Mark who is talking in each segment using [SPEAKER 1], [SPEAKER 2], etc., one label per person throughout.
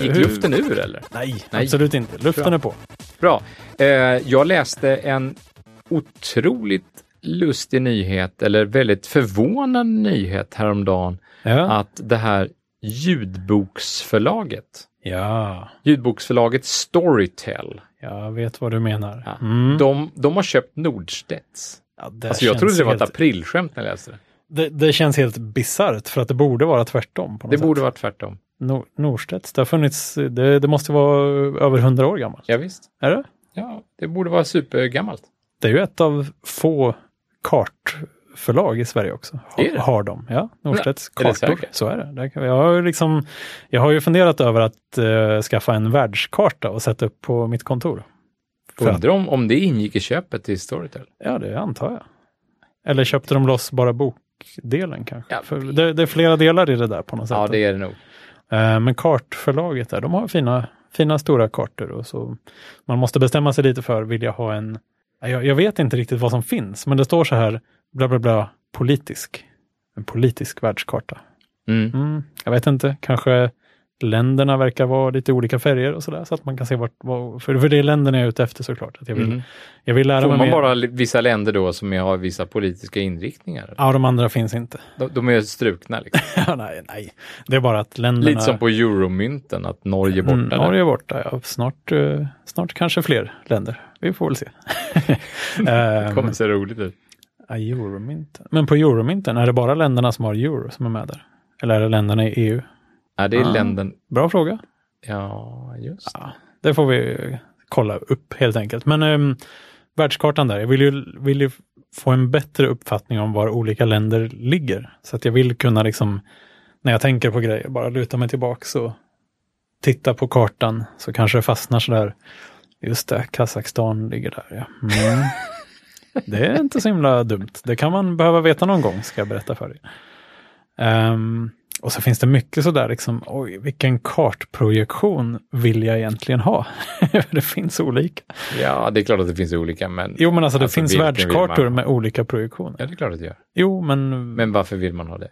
[SPEAKER 1] Gick
[SPEAKER 2] Hur-
[SPEAKER 1] luften ur eller?
[SPEAKER 2] Nej,
[SPEAKER 1] Nej.
[SPEAKER 2] absolut inte. Luften
[SPEAKER 1] Bra.
[SPEAKER 2] är på.
[SPEAKER 1] Bra. Eh, jag läste en otroligt lustig nyhet, eller väldigt förvånande nyhet häromdagen,
[SPEAKER 2] Ja.
[SPEAKER 1] att det här ljudboksförlaget,
[SPEAKER 2] ja,
[SPEAKER 1] ljudboksförlaget Storytel,
[SPEAKER 2] jag vet vad du menar.
[SPEAKER 1] ja,
[SPEAKER 2] Mm.
[SPEAKER 1] de, de har köpt Nordstedts.
[SPEAKER 2] Ja, det,
[SPEAKER 1] Alltså jag
[SPEAKER 2] känns
[SPEAKER 1] trodde det var ett
[SPEAKER 2] helt,
[SPEAKER 1] aprilskämt när jag läste det.
[SPEAKER 2] det, det känns helt bisarrt för att det borde vara tvärtom. På något
[SPEAKER 1] Det
[SPEAKER 2] sätt.
[SPEAKER 1] borde vara tvärtom.
[SPEAKER 2] Nor- Norstedts, det har funnits, det, det måste vara över hundra år gammalt.
[SPEAKER 1] Ja, visst.
[SPEAKER 2] Är det?
[SPEAKER 1] Ja, det borde vara supergammalt.
[SPEAKER 2] Det är ju ett av få kartförlag i Sverige också. Har,
[SPEAKER 1] Är det?
[SPEAKER 2] har de, ja. Norstedts
[SPEAKER 1] Nej, är det
[SPEAKER 2] kartor.
[SPEAKER 1] säkert?
[SPEAKER 2] Så är det. Där kan- Jag har, ju liksom, jag har ju funderat över att eh, skaffa en världskarta och sätta upp på mitt kontor. För att,
[SPEAKER 1] Undrar om, om det ingick i köpet till Storytel.
[SPEAKER 2] ja, det antar jag. Eller köpte de loss bara bokdelen kanske?
[SPEAKER 1] Ja.
[SPEAKER 2] För det, det är flera delar i det där på något sätt.
[SPEAKER 1] Ja, det är det nog.
[SPEAKER 2] Eh, Men kartförlaget där, de har fina, fina stora kartor. Och så man måste bestämma sig lite för, vill jag ha en... Nej, Jag, jag vet inte riktigt vad som finns, men det står så här, bla bla bla, politisk. En politisk världskarta.
[SPEAKER 1] Mm.
[SPEAKER 2] Mm, jag vet inte, kanske länderna verkar vara lite olika färger och sådär, så att man kan se vart... Vad, för, för det är länderna jag är ute efter såklart. Att jag, vill,
[SPEAKER 1] Mm.
[SPEAKER 2] jag vill lära
[SPEAKER 1] Får
[SPEAKER 2] mig
[SPEAKER 1] man
[SPEAKER 2] mer.
[SPEAKER 1] bara li- vissa länder då som har vissa politiska inriktningar?
[SPEAKER 2] Ja, de andra finns inte.
[SPEAKER 1] De, de är strukna liksom.
[SPEAKER 2] nej, nej, det är bara att länderna...
[SPEAKER 1] Lite som på euromynten, att Norge är borta.
[SPEAKER 2] Mm,
[SPEAKER 1] där.
[SPEAKER 2] Norge är borta, ja. Snart, eh, snart kanske fler länder. Vi får väl se.
[SPEAKER 1] Det
[SPEAKER 2] um,
[SPEAKER 1] kommer se roligt ut.
[SPEAKER 2] Euromynten. Men på euromynten, är det bara länderna som har euro som är med där? Eller är det länderna i EU?
[SPEAKER 1] Ja, det är
[SPEAKER 2] Ah.
[SPEAKER 1] länden...
[SPEAKER 2] Bra fråga.
[SPEAKER 1] Ja, just
[SPEAKER 2] Ja, det får vi eh, kolla upp helt enkelt. Men um, världskartan där, jag vill ju, vill ju få en bättre uppfattning om var olika länder ligger. Så att jag vill kunna liksom, när jag tänker på grejer, bara luta mig tillbaks och titta på kartan så kanske det fastnar sådär. Just det, Kazakstan ligger där ja. Mm. Det är inte så himla dumt. Det kan man behöva veta någon gång, ska jag berätta för dig. Ehm, och så finns det mycket sådär, liksom, oj, vilken kartprojektion vill jag egentligen ha? det finns olika.
[SPEAKER 1] Ja, det är klart att det finns olika, men...
[SPEAKER 2] Jo, men alltså det
[SPEAKER 1] Alltså,
[SPEAKER 2] finns
[SPEAKER 1] vilken vill man
[SPEAKER 2] världskartor
[SPEAKER 1] ha?
[SPEAKER 2] med olika projektioner.
[SPEAKER 1] Ja, det är klart att det gör.
[SPEAKER 2] Jo, men,
[SPEAKER 1] Men varför vill man ha det?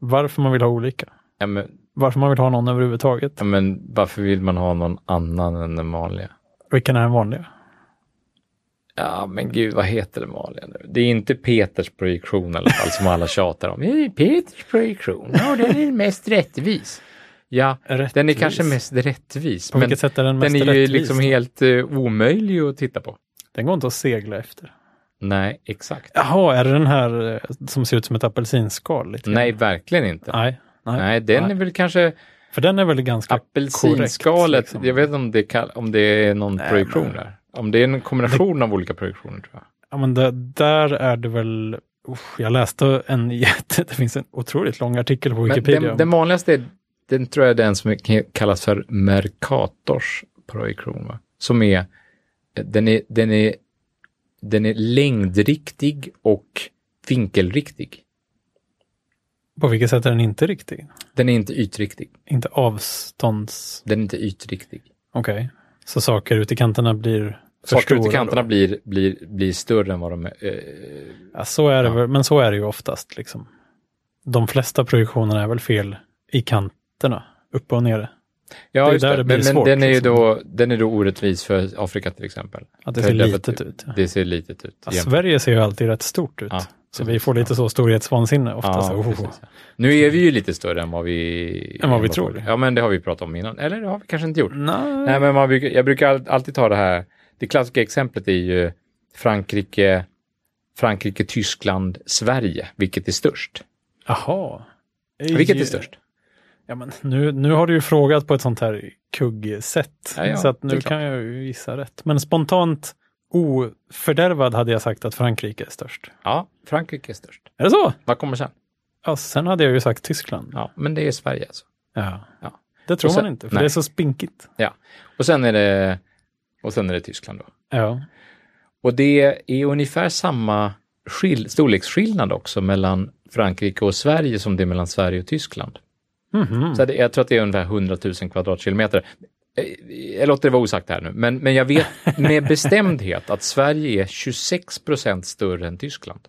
[SPEAKER 2] varför man vill ha olika?
[SPEAKER 1] Ja, men,
[SPEAKER 2] Varför man vill ha någon överhuvudtaget?
[SPEAKER 1] ja, men varför vill man ha någon annan än den vanliga?
[SPEAKER 2] Vilken är den vanliga?
[SPEAKER 1] Ja, men gud, vad heter den vanliga nu? Det är inte Peters projektion i alla fall, som alla tjatar om. Det är Peters projektion, ja, den är mest rättvis. Ja, den är
[SPEAKER 2] Rättvis.
[SPEAKER 1] kanske mest rättvis,
[SPEAKER 2] På
[SPEAKER 1] men
[SPEAKER 2] vilket sätt är den mest
[SPEAKER 1] den är ju
[SPEAKER 2] rättvis?
[SPEAKER 1] liksom helt eh, omöjlig att titta på.
[SPEAKER 2] Den går inte att segla efter.
[SPEAKER 1] Nej, exakt.
[SPEAKER 2] Jaha, är det den här eh, som ser ut som ett apelsinskal? Lite grann?
[SPEAKER 1] Nej, verkligen inte.
[SPEAKER 2] Nej, nej.
[SPEAKER 1] Nej, den
[SPEAKER 2] nej.
[SPEAKER 1] är väl kanske
[SPEAKER 2] För den är väl ganska
[SPEAKER 1] apelsinskalet.
[SPEAKER 2] korrekt, liksom.
[SPEAKER 1] Jag vet inte om det, kall- om det är någon
[SPEAKER 2] Nej,
[SPEAKER 1] projektion
[SPEAKER 2] men-
[SPEAKER 1] där. Om det är en kombination av olika projektioner tror jag.
[SPEAKER 2] Ja, men det, där är det väl... Usch, jag läste en jätte... Det finns en otroligt lång artikel på
[SPEAKER 1] Men
[SPEAKER 2] Wikipedia.
[SPEAKER 1] den, den vanligaste, är, den tror jag är den som är- kallas för Mercators projektion. Va? Som är eh, den, är, den är, den är längdriktig och vinkelriktig.
[SPEAKER 2] På vilket sätt är den inte riktig?
[SPEAKER 1] Den är inte ytriktig.
[SPEAKER 2] Inte avstånds...
[SPEAKER 1] Den är inte ytriktig.
[SPEAKER 2] Okej. Så saker ute i kanterna blir för
[SPEAKER 1] Saker ute
[SPEAKER 2] stora
[SPEAKER 1] i kanterna
[SPEAKER 2] då?
[SPEAKER 1] blir, blir, blir större än vad de är. Eh,
[SPEAKER 2] Ja, så är det
[SPEAKER 1] Ja.
[SPEAKER 2] väl, men så är det ju oftast. Liksom. De flesta projektionerna är väl fel i kanterna, upp och ner.
[SPEAKER 1] Ja,
[SPEAKER 2] Det är
[SPEAKER 1] just
[SPEAKER 2] där det blir
[SPEAKER 1] men, men
[SPEAKER 2] svårt,
[SPEAKER 1] den, är ju
[SPEAKER 2] liksom.
[SPEAKER 1] då, den är då orättvis för Afrika till exempel.
[SPEAKER 2] Att det
[SPEAKER 1] För
[SPEAKER 2] ser
[SPEAKER 1] därför att
[SPEAKER 2] litet ut. Ja.
[SPEAKER 1] Det ser litet ut.
[SPEAKER 2] Ja,
[SPEAKER 1] jämfört-
[SPEAKER 2] Sverige ser ju alltid rätt stort ut.
[SPEAKER 1] Ja,
[SPEAKER 2] så vi
[SPEAKER 1] precis,
[SPEAKER 2] får lite
[SPEAKER 1] ja.
[SPEAKER 2] så storhetsvansinne ofta.
[SPEAKER 1] Ja,
[SPEAKER 2] så, oh,
[SPEAKER 1] precis, ja. Nu är vi ju lite större än vad vi...
[SPEAKER 2] Än vad vi tror.
[SPEAKER 1] Ja, men det har vi pratat om innan. Eller det har vi kanske inte gjort.
[SPEAKER 2] Nej.
[SPEAKER 1] Nej, men man brukar, jag brukar all- alltid ta det här. Det klassiska exemplet är ju Frankrike, Frankrike, Tyskland, Sverige. Vilket är störst?
[SPEAKER 2] Jaha.
[SPEAKER 1] Vilket är
[SPEAKER 2] Ej.
[SPEAKER 1] störst?
[SPEAKER 2] Ja, men nu, nu har du ju frågat på ett sånt här kuggsätt.
[SPEAKER 1] Ja, ja,
[SPEAKER 2] så att
[SPEAKER 1] det
[SPEAKER 2] nu
[SPEAKER 1] är klart.
[SPEAKER 2] kan jag ju gissa rätt. Men spontant ofördärvad hade jag sagt att Frankrike är störst.
[SPEAKER 1] Ja, Frankrike är störst.
[SPEAKER 2] Är det så?
[SPEAKER 1] Vad kommer sen?
[SPEAKER 2] Ja, sen hade jag ju sagt Tyskland.
[SPEAKER 1] Ja, men det är Sverige alltså.
[SPEAKER 2] Ja.
[SPEAKER 1] Ja.
[SPEAKER 2] Det tror
[SPEAKER 1] Och sen-
[SPEAKER 2] man inte, för
[SPEAKER 1] nej.
[SPEAKER 2] det är så spinkigt.
[SPEAKER 1] Och sen är det, och sen är det Tyskland då.
[SPEAKER 2] Ja.
[SPEAKER 1] Och det är ungefär samma skill- storleksskillnad också mellan Frankrike och Sverige som det är mellan Sverige och Tyskland.
[SPEAKER 2] Mhm.
[SPEAKER 1] Så det, jag tror att det är ungefär 100 000 kvadratkilometer. Eh, Jag låter det vara osagt här nu, men, men jag vet med bestämdhet att Sverige är 26 procent större än Tyskland.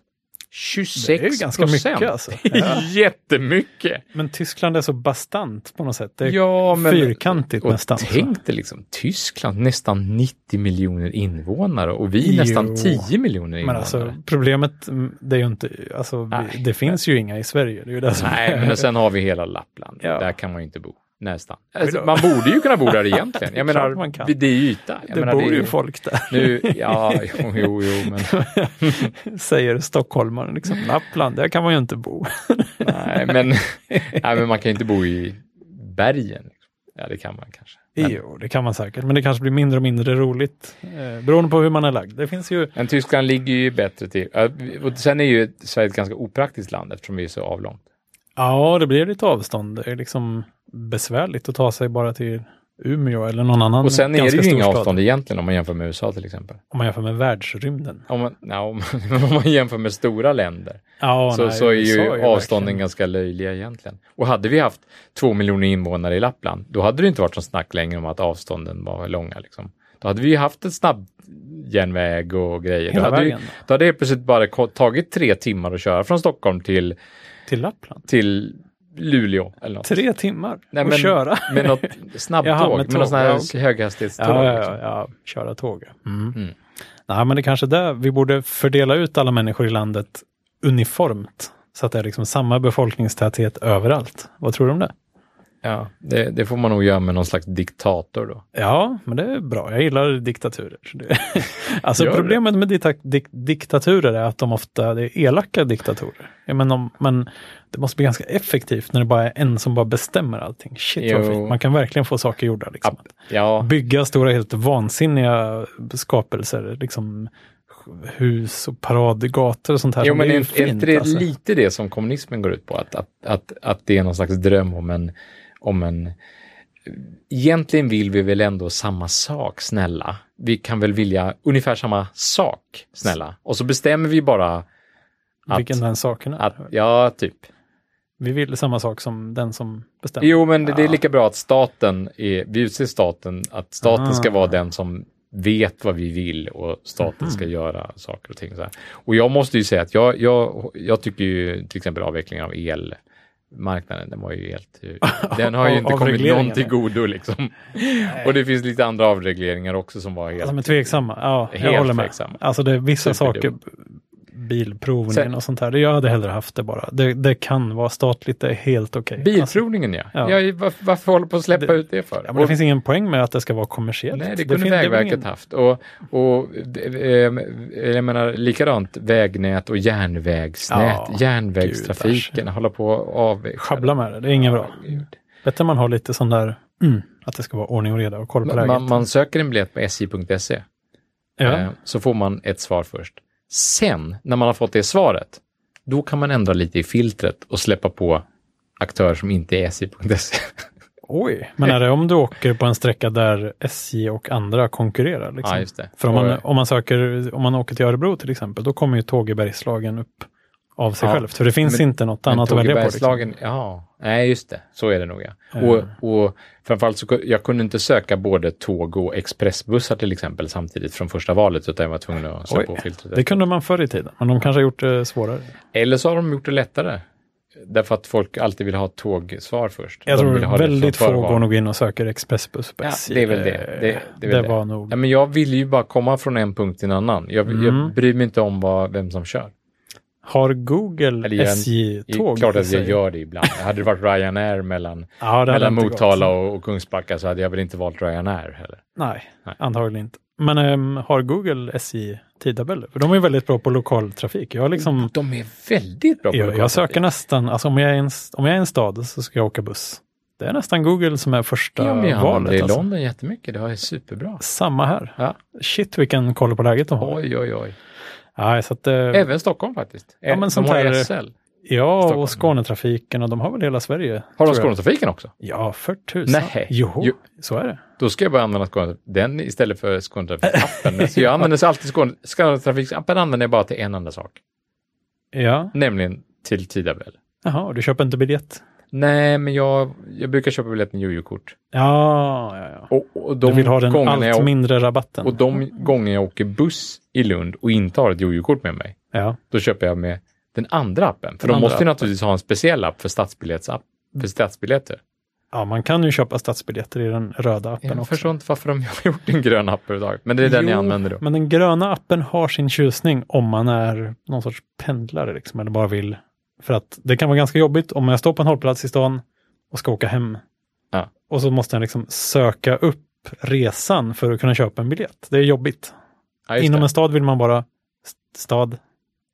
[SPEAKER 1] 26
[SPEAKER 2] Det är ju ganska mycket alltså. Ja.
[SPEAKER 1] Jättemycket!
[SPEAKER 2] Men Tyskland är så bastant på något sätt. Det är
[SPEAKER 1] Ja, men...
[SPEAKER 2] fyrkantigt
[SPEAKER 1] och
[SPEAKER 2] nästan. alltså. så.
[SPEAKER 1] tänk dig liksom Tyskland, nästan 90 miljoner invånare och vi
[SPEAKER 2] Jo.
[SPEAKER 1] nästan 10 miljoner
[SPEAKER 2] Men
[SPEAKER 1] invånare.
[SPEAKER 2] alltså problemet, mm, det är ju inte, alltså, vi-
[SPEAKER 1] Nej.
[SPEAKER 2] det finns ju inga i Sverige. Det är ju det som
[SPEAKER 1] Nej, men sen har vi hela Lappland.
[SPEAKER 2] Ja.
[SPEAKER 1] Där kan man ju inte bo. Nästan.
[SPEAKER 2] då.
[SPEAKER 1] Alltså, man borde ju kunna bo där egentligen.
[SPEAKER 2] Det är
[SPEAKER 1] Jag menar,
[SPEAKER 2] klart man kan.
[SPEAKER 1] vi- det är ju yta. Jag
[SPEAKER 2] det
[SPEAKER 1] menar,
[SPEAKER 2] bor
[SPEAKER 1] det är
[SPEAKER 2] ju folk där,
[SPEAKER 1] Nu, ja, jo, jo, jo men,
[SPEAKER 2] säger stockholmaren. Liksom, Lappland, där kan man ju inte bo.
[SPEAKER 1] nej, men, nej, men man kan ju inte bo i bergen. liksom. Ja, det kan man kanske. Men,
[SPEAKER 2] Jo, det kan man säkert, men det kanske blir mindre och mindre roligt. Eh, beroende på hur man är lagd. Det finns ju,
[SPEAKER 1] men Tyskland ligger ju bättre till. Ja, vi- Och sen är ju Sverige ett ganska opraktiskt land eftersom vi är så avlångt.
[SPEAKER 2] ja det blir lite avstånd. Det är liksom besvärligt att ta sig bara till Umeå eller någon annan
[SPEAKER 1] Och sen är
[SPEAKER 2] ganska
[SPEAKER 1] det ju
[SPEAKER 2] stor
[SPEAKER 1] inga
[SPEAKER 2] stad.
[SPEAKER 1] avstånd egentligen om man jämför med USA till exempel.
[SPEAKER 2] Om man jämför med världsrymden.
[SPEAKER 1] Om man, ja, om, men om man jämför med stora länder
[SPEAKER 2] Ja,
[SPEAKER 1] så,
[SPEAKER 2] nej,
[SPEAKER 1] så är
[SPEAKER 2] USA
[SPEAKER 1] ju avstånden
[SPEAKER 2] verkligen-
[SPEAKER 1] ganska löjliga egentligen. Och hade vi haft två miljoner invånare i Lappland, då hade det inte varit någon snack längre om att avstånden var långa. Liksom. Då hade vi ju haft en snabb järnväg och grejer. Då
[SPEAKER 2] Hela
[SPEAKER 1] hade, ju,
[SPEAKER 2] vägen.
[SPEAKER 1] då hade det plötsligt bara ko- tagit tre timmar att köra från Stockholm till,
[SPEAKER 2] Till Lappland.
[SPEAKER 1] till Luleå eller något.
[SPEAKER 2] Tre timmar
[SPEAKER 1] Nej,
[SPEAKER 2] att
[SPEAKER 1] men-
[SPEAKER 2] köra.
[SPEAKER 1] Med något
[SPEAKER 2] Jaha,
[SPEAKER 1] snabbtåg,
[SPEAKER 2] med
[SPEAKER 1] med,
[SPEAKER 2] tåg,
[SPEAKER 1] något sånt här
[SPEAKER 2] ja, okej.
[SPEAKER 1] höghastighetståg.
[SPEAKER 2] Ja,
[SPEAKER 1] liksom.
[SPEAKER 2] ja, ja, köra tåg. ja. Mm.
[SPEAKER 1] Mm.
[SPEAKER 2] Nej, men det kanske är där vi borde fördela ut alla människor i landet uniformt. Så att det är liksom samma befolkningstäthet överallt. Vad tror du om det?
[SPEAKER 1] Ja, det, det får man nog göra med någon slags diktator då.
[SPEAKER 2] Ja, men det är bra. Jag gillar diktaturer. Så det... alltså
[SPEAKER 1] Gör det.
[SPEAKER 2] problemet med dita- dik- diktaturer är att de ofta det är elaka diktatorer. Ja, men, de, men det måste bli ganska effektivt när det bara är en som bara bestämmer allting. Shit vad
[SPEAKER 1] Jo.
[SPEAKER 2] fint. Man kan verkligen få saker gjorda. Liksom.
[SPEAKER 1] Ab- Ja,
[SPEAKER 2] bygga stora helt vansinniga skapelser, liksom hus och paradgator och sånt här.
[SPEAKER 1] Jo,
[SPEAKER 2] som
[SPEAKER 1] men
[SPEAKER 2] är
[SPEAKER 1] är,
[SPEAKER 2] ju
[SPEAKER 1] är inte det
[SPEAKER 2] alltså.
[SPEAKER 1] lite det som kommunismen går ut på? Att, att, att, att det är någon slags dröm om en, om en... Egentligen vill vi väl ändå samma sak, snälla. Vi kan väl vilja ungefär samma sak, snälla. Och så bestämmer vi bara att...
[SPEAKER 2] Vilken den saken är.
[SPEAKER 1] att ja, typ.
[SPEAKER 2] Vi vill samma sak som den som bestämmer.
[SPEAKER 1] Jo, men det, det är
[SPEAKER 2] Ja.
[SPEAKER 1] lika bra att staten är... Vi utser staten, att staten ska
[SPEAKER 2] Ah.
[SPEAKER 1] vara den som vet vad vi vill och staten ska
[SPEAKER 2] Mm-hmm.
[SPEAKER 1] göra saker och ting. Så här. Och jag måste ju säga att jag, jag, jag tycker ju till exempel avvecklingen av elmarknaden, den var ju helt... eh, Den har ju inte kommit
[SPEAKER 2] Avregleringen,
[SPEAKER 1] någon till
[SPEAKER 2] ja.
[SPEAKER 1] godo liksom. Och det finns lite andra avregleringar också som var helt...
[SPEAKER 2] Som är tveksamma. Ja, jag
[SPEAKER 1] Helt
[SPEAKER 2] håller med.
[SPEAKER 1] tveksamma.
[SPEAKER 2] Alltså det är vissa saker,
[SPEAKER 1] Superdum.
[SPEAKER 2] bilprovningen
[SPEAKER 1] Sen-
[SPEAKER 2] och sånt här. det- Jag hade hellre haft det bara. Det, det kan vara statligt, det är helt okej. Alltså,
[SPEAKER 1] Bilprovningen ja.
[SPEAKER 2] Ja.
[SPEAKER 1] Jag, varför, varför håller på att släppa
[SPEAKER 2] Det-
[SPEAKER 1] ut det för?
[SPEAKER 2] ja, men det finns ingen poäng med att det ska vara kommersiellt.
[SPEAKER 1] Nej, det kunde
[SPEAKER 2] fin- är väl
[SPEAKER 1] Vägverket
[SPEAKER 2] ingen-
[SPEAKER 1] haft. Och, och eh, jag menar likadant vägnät och järnvägsnät,
[SPEAKER 2] Ja,
[SPEAKER 1] järnvägstrafiken,
[SPEAKER 2] gudars.
[SPEAKER 1] hålla på och avveckla.
[SPEAKER 2] Sjabbla med det, det är inget bra. Bättre man har lite sån där, mm, att det ska vara ordning och reda och koll på läget.
[SPEAKER 1] Man, man söker en biljett på sj.se
[SPEAKER 2] ja.
[SPEAKER 1] E, eh, så får man ett svar först. Sen, när man har fått det svaret, då kan man ändra lite i filtret och släppa på aktörer som inte är sj.se.
[SPEAKER 2] Oj. Men är det om du åker på en sträcka där SJ och andra konkurrerar? Liksom?
[SPEAKER 1] Ja, just det.
[SPEAKER 2] För om
[SPEAKER 1] Och-
[SPEAKER 2] man, om, man söker, om man åker till Örebro till exempel, då kommer ju tåg i Bergslagen upp av sig
[SPEAKER 1] Ja,
[SPEAKER 2] självt. För det finns
[SPEAKER 1] men-
[SPEAKER 2] inte något
[SPEAKER 1] Men
[SPEAKER 2] annat att välja på. Liksom.
[SPEAKER 1] Bergslagen, ja. Nej, just det. Så är det nog, ja.
[SPEAKER 2] Eh.
[SPEAKER 1] Och, och framförallt så ku- jag kunde inte söka både tåg och expressbussar till exempel samtidigt från första valet, utan jag var tvungen att slå
[SPEAKER 2] Oj,
[SPEAKER 1] på filtret.
[SPEAKER 2] Det kunde man förr i tiden, men de kanske har gjort det svårare.
[SPEAKER 1] Eller så har de gjort det lättare. Därför att folk alltid vill ha tågsvar först.
[SPEAKER 2] Jag
[SPEAKER 1] de vill ha
[SPEAKER 2] tror
[SPEAKER 1] det från
[SPEAKER 2] väldigt få
[SPEAKER 1] förra valet.
[SPEAKER 2] går nog in och söker expressbuss på
[SPEAKER 1] Ja,
[SPEAKER 2] SJ.
[SPEAKER 1] det är väl det. Det- det är väl det.
[SPEAKER 2] var nog...
[SPEAKER 1] Ja, men jag vill ju bara komma från en punkt till en annan. Jag,
[SPEAKER 2] Mm.
[SPEAKER 1] jag bryr mig inte om vad, vem som kör.
[SPEAKER 2] Har Google
[SPEAKER 1] Eller jag- Det är
[SPEAKER 2] SJ-tåg?
[SPEAKER 1] klart att jag
[SPEAKER 2] säger-
[SPEAKER 1] gör det ibland. Hade det varit Ryanair mellan,
[SPEAKER 2] ja, det hade
[SPEAKER 1] mellan
[SPEAKER 2] inte gått.
[SPEAKER 1] Motala och, och Kungsbacka så hade jag väl inte valt Ryanair heller.
[SPEAKER 2] Nej,
[SPEAKER 1] Nej.
[SPEAKER 2] antagligen inte. Men ehm, har Google SJ tidtabeller? För de är ju väldigt bra på lokaltrafik. Jag, har liksom,
[SPEAKER 1] De är väldigt Mm. bra på
[SPEAKER 2] jag, jag
[SPEAKER 1] lokaltrafik.
[SPEAKER 2] söker nästan, alltså om jag, är i en, st- om jag är i en stad så ska jag åka buss. Det är nästan Google som är första
[SPEAKER 1] Ja, men jag använder det
[SPEAKER 2] valet.
[SPEAKER 1] i
[SPEAKER 2] Alltså.
[SPEAKER 1] London jättemycket. Det är superbra.
[SPEAKER 2] Samma här.
[SPEAKER 1] Ja.
[SPEAKER 2] Shit vilken koll på läget de har.
[SPEAKER 1] Oj, oj, oj.
[SPEAKER 2] Ja, så att, eh,
[SPEAKER 1] Även Stockholm faktiskt. Eh,
[SPEAKER 2] Ja, men
[SPEAKER 1] de
[SPEAKER 2] sånt
[SPEAKER 1] har
[SPEAKER 2] här-
[SPEAKER 1] SL.
[SPEAKER 2] ja
[SPEAKER 1] Stockholm.
[SPEAKER 2] och Skånetrafiken och de har väl hela Sverige.
[SPEAKER 1] Har de
[SPEAKER 2] tror jag.
[SPEAKER 1] Skånetrafiken också?
[SPEAKER 2] Ja, för tusan.
[SPEAKER 1] Nej.
[SPEAKER 2] Jo,
[SPEAKER 1] Jo.
[SPEAKER 2] så är det.
[SPEAKER 1] Då ska jag bara använda Skåne, den istället för Skånetrafikappen. Så jag använder så alltid Skåne, Skånetrafikappen använder jag bara till en enda sak,
[SPEAKER 2] Ja,
[SPEAKER 1] nämligen till tidtabell.
[SPEAKER 2] jaha, du köper inte biljett.
[SPEAKER 1] Nej, men jag, jag brukar köpa biljett med Jojo-kort.
[SPEAKER 2] Ja, ja, ja.
[SPEAKER 1] Och, och
[SPEAKER 2] Du
[SPEAKER 1] de
[SPEAKER 2] vill ha den
[SPEAKER 1] gångerna
[SPEAKER 2] allt
[SPEAKER 1] jag,
[SPEAKER 2] mindre rabatten.
[SPEAKER 1] och de gånger jag åker buss i Lund och inte har ett Jojo-kort med mig,
[SPEAKER 2] ja.
[SPEAKER 1] då köper jag med den andra appen. För
[SPEAKER 2] Den
[SPEAKER 1] de
[SPEAKER 2] andra Mm.
[SPEAKER 1] måste ju naturligtvis ha en speciell app för stadsbiljettsapp, för stadsbiljetter.
[SPEAKER 2] Ja, man kan ju köpa stadsbiljetter i den röda appen
[SPEAKER 1] Jag
[SPEAKER 2] också.
[SPEAKER 1] förstår inte varför de har gjort en grön app överhuvudtaget, men det är den
[SPEAKER 2] Jo,
[SPEAKER 1] jag använder då.
[SPEAKER 2] Men den gröna appen har sin tjusning om man är någon sorts pendlare liksom, eller bara vill. För att det kan vara ganska jobbigt om jag står på en hållplats i stan och ska åka hem.
[SPEAKER 1] Ja.
[SPEAKER 2] Och så måste jag liksom söka upp resan för att kunna köpa en biljett. Det är jobbigt.
[SPEAKER 1] Ja, just
[SPEAKER 2] Inom en
[SPEAKER 1] det.
[SPEAKER 2] stad vill man bara st- stad,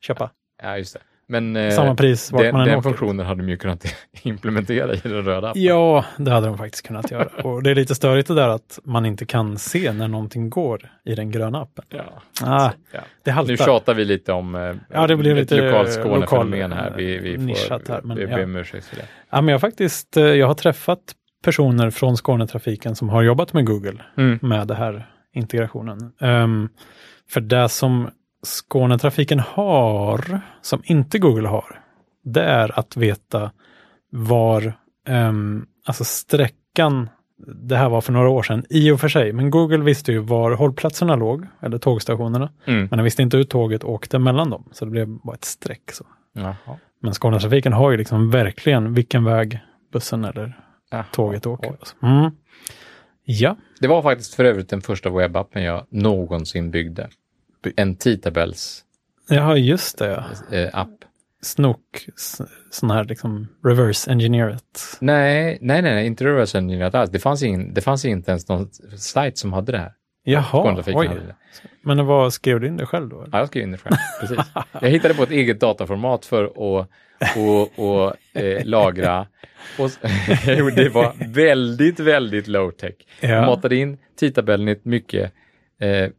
[SPEAKER 2] köpa.
[SPEAKER 1] Ja, just det. Men eh,
[SPEAKER 2] Samma pris vart
[SPEAKER 1] den,
[SPEAKER 2] man än
[SPEAKER 1] den
[SPEAKER 2] åker.
[SPEAKER 1] funktionen hade de ju kunnat implementera i den röda appen.
[SPEAKER 2] Ja, det hade de faktiskt kunnat göra. Och det är lite störigt det där att man inte kan se när någonting går i den gröna appen.
[SPEAKER 1] Ja,
[SPEAKER 2] Ah,
[SPEAKER 1] så, ja.
[SPEAKER 2] det haltar.
[SPEAKER 1] Nu tjatar vi lite om eh,
[SPEAKER 2] Ja, det blir
[SPEAKER 1] ett
[SPEAKER 2] lite
[SPEAKER 1] lokalt Skånefenomen
[SPEAKER 2] lokal,
[SPEAKER 1] här. Vi, vi
[SPEAKER 2] nischat
[SPEAKER 1] får
[SPEAKER 2] här, men
[SPEAKER 1] vi
[SPEAKER 2] ja.
[SPEAKER 1] ber om ursäkt för det.
[SPEAKER 2] Ja, men jag, har faktiskt, eh, jag har träffat personer från Skånetrafiken som har jobbat med Google
[SPEAKER 1] Mm.
[SPEAKER 2] med det här integrationen. Ehm, för det som Skånetrafiken har, som inte Google har, det är att veta var, ehm, alltså sträckan, det här var för några år sedan i och för sig, men Google visste ju var hållplatserna låg, eller tågstationerna,
[SPEAKER 1] Mm.
[SPEAKER 2] men den visste inte hur tåget åkte mellan dem, så det blev bara ett streck. Så.
[SPEAKER 1] Jaha.
[SPEAKER 2] Men Skånetrafiken har ju liksom verkligen vilken väg bussen eller
[SPEAKER 1] Jaha.
[SPEAKER 2] tåget åker. Mm. Ja,
[SPEAKER 1] Det var faktiskt för övrigt den första webbappen jag någonsin byggde. En tidtabellsapp.
[SPEAKER 2] ja, just det.
[SPEAKER 1] Eh, app.
[SPEAKER 2] Snok, s- sån här liksom reverse engineerat.
[SPEAKER 1] nej, nej, nej, nej, inte reverse engineerat alls. Det fanns, ingen, det fanns inte ens någon sajt som hade det här.
[SPEAKER 2] Jaha,
[SPEAKER 1] Skånetrafiken hade
[SPEAKER 2] oj.
[SPEAKER 1] det.
[SPEAKER 2] Men det var, skrev du in det själv då? eller?
[SPEAKER 1] Ja, jag skrev in det själv. Precis. Jag hittade på ett eget dataformat för att och, och, eh, lagra. Och, s- Jo, det var väldigt, väldigt low tech. Jag
[SPEAKER 2] Ja.
[SPEAKER 1] matade in tidtabellen i ett mycket eh, eh,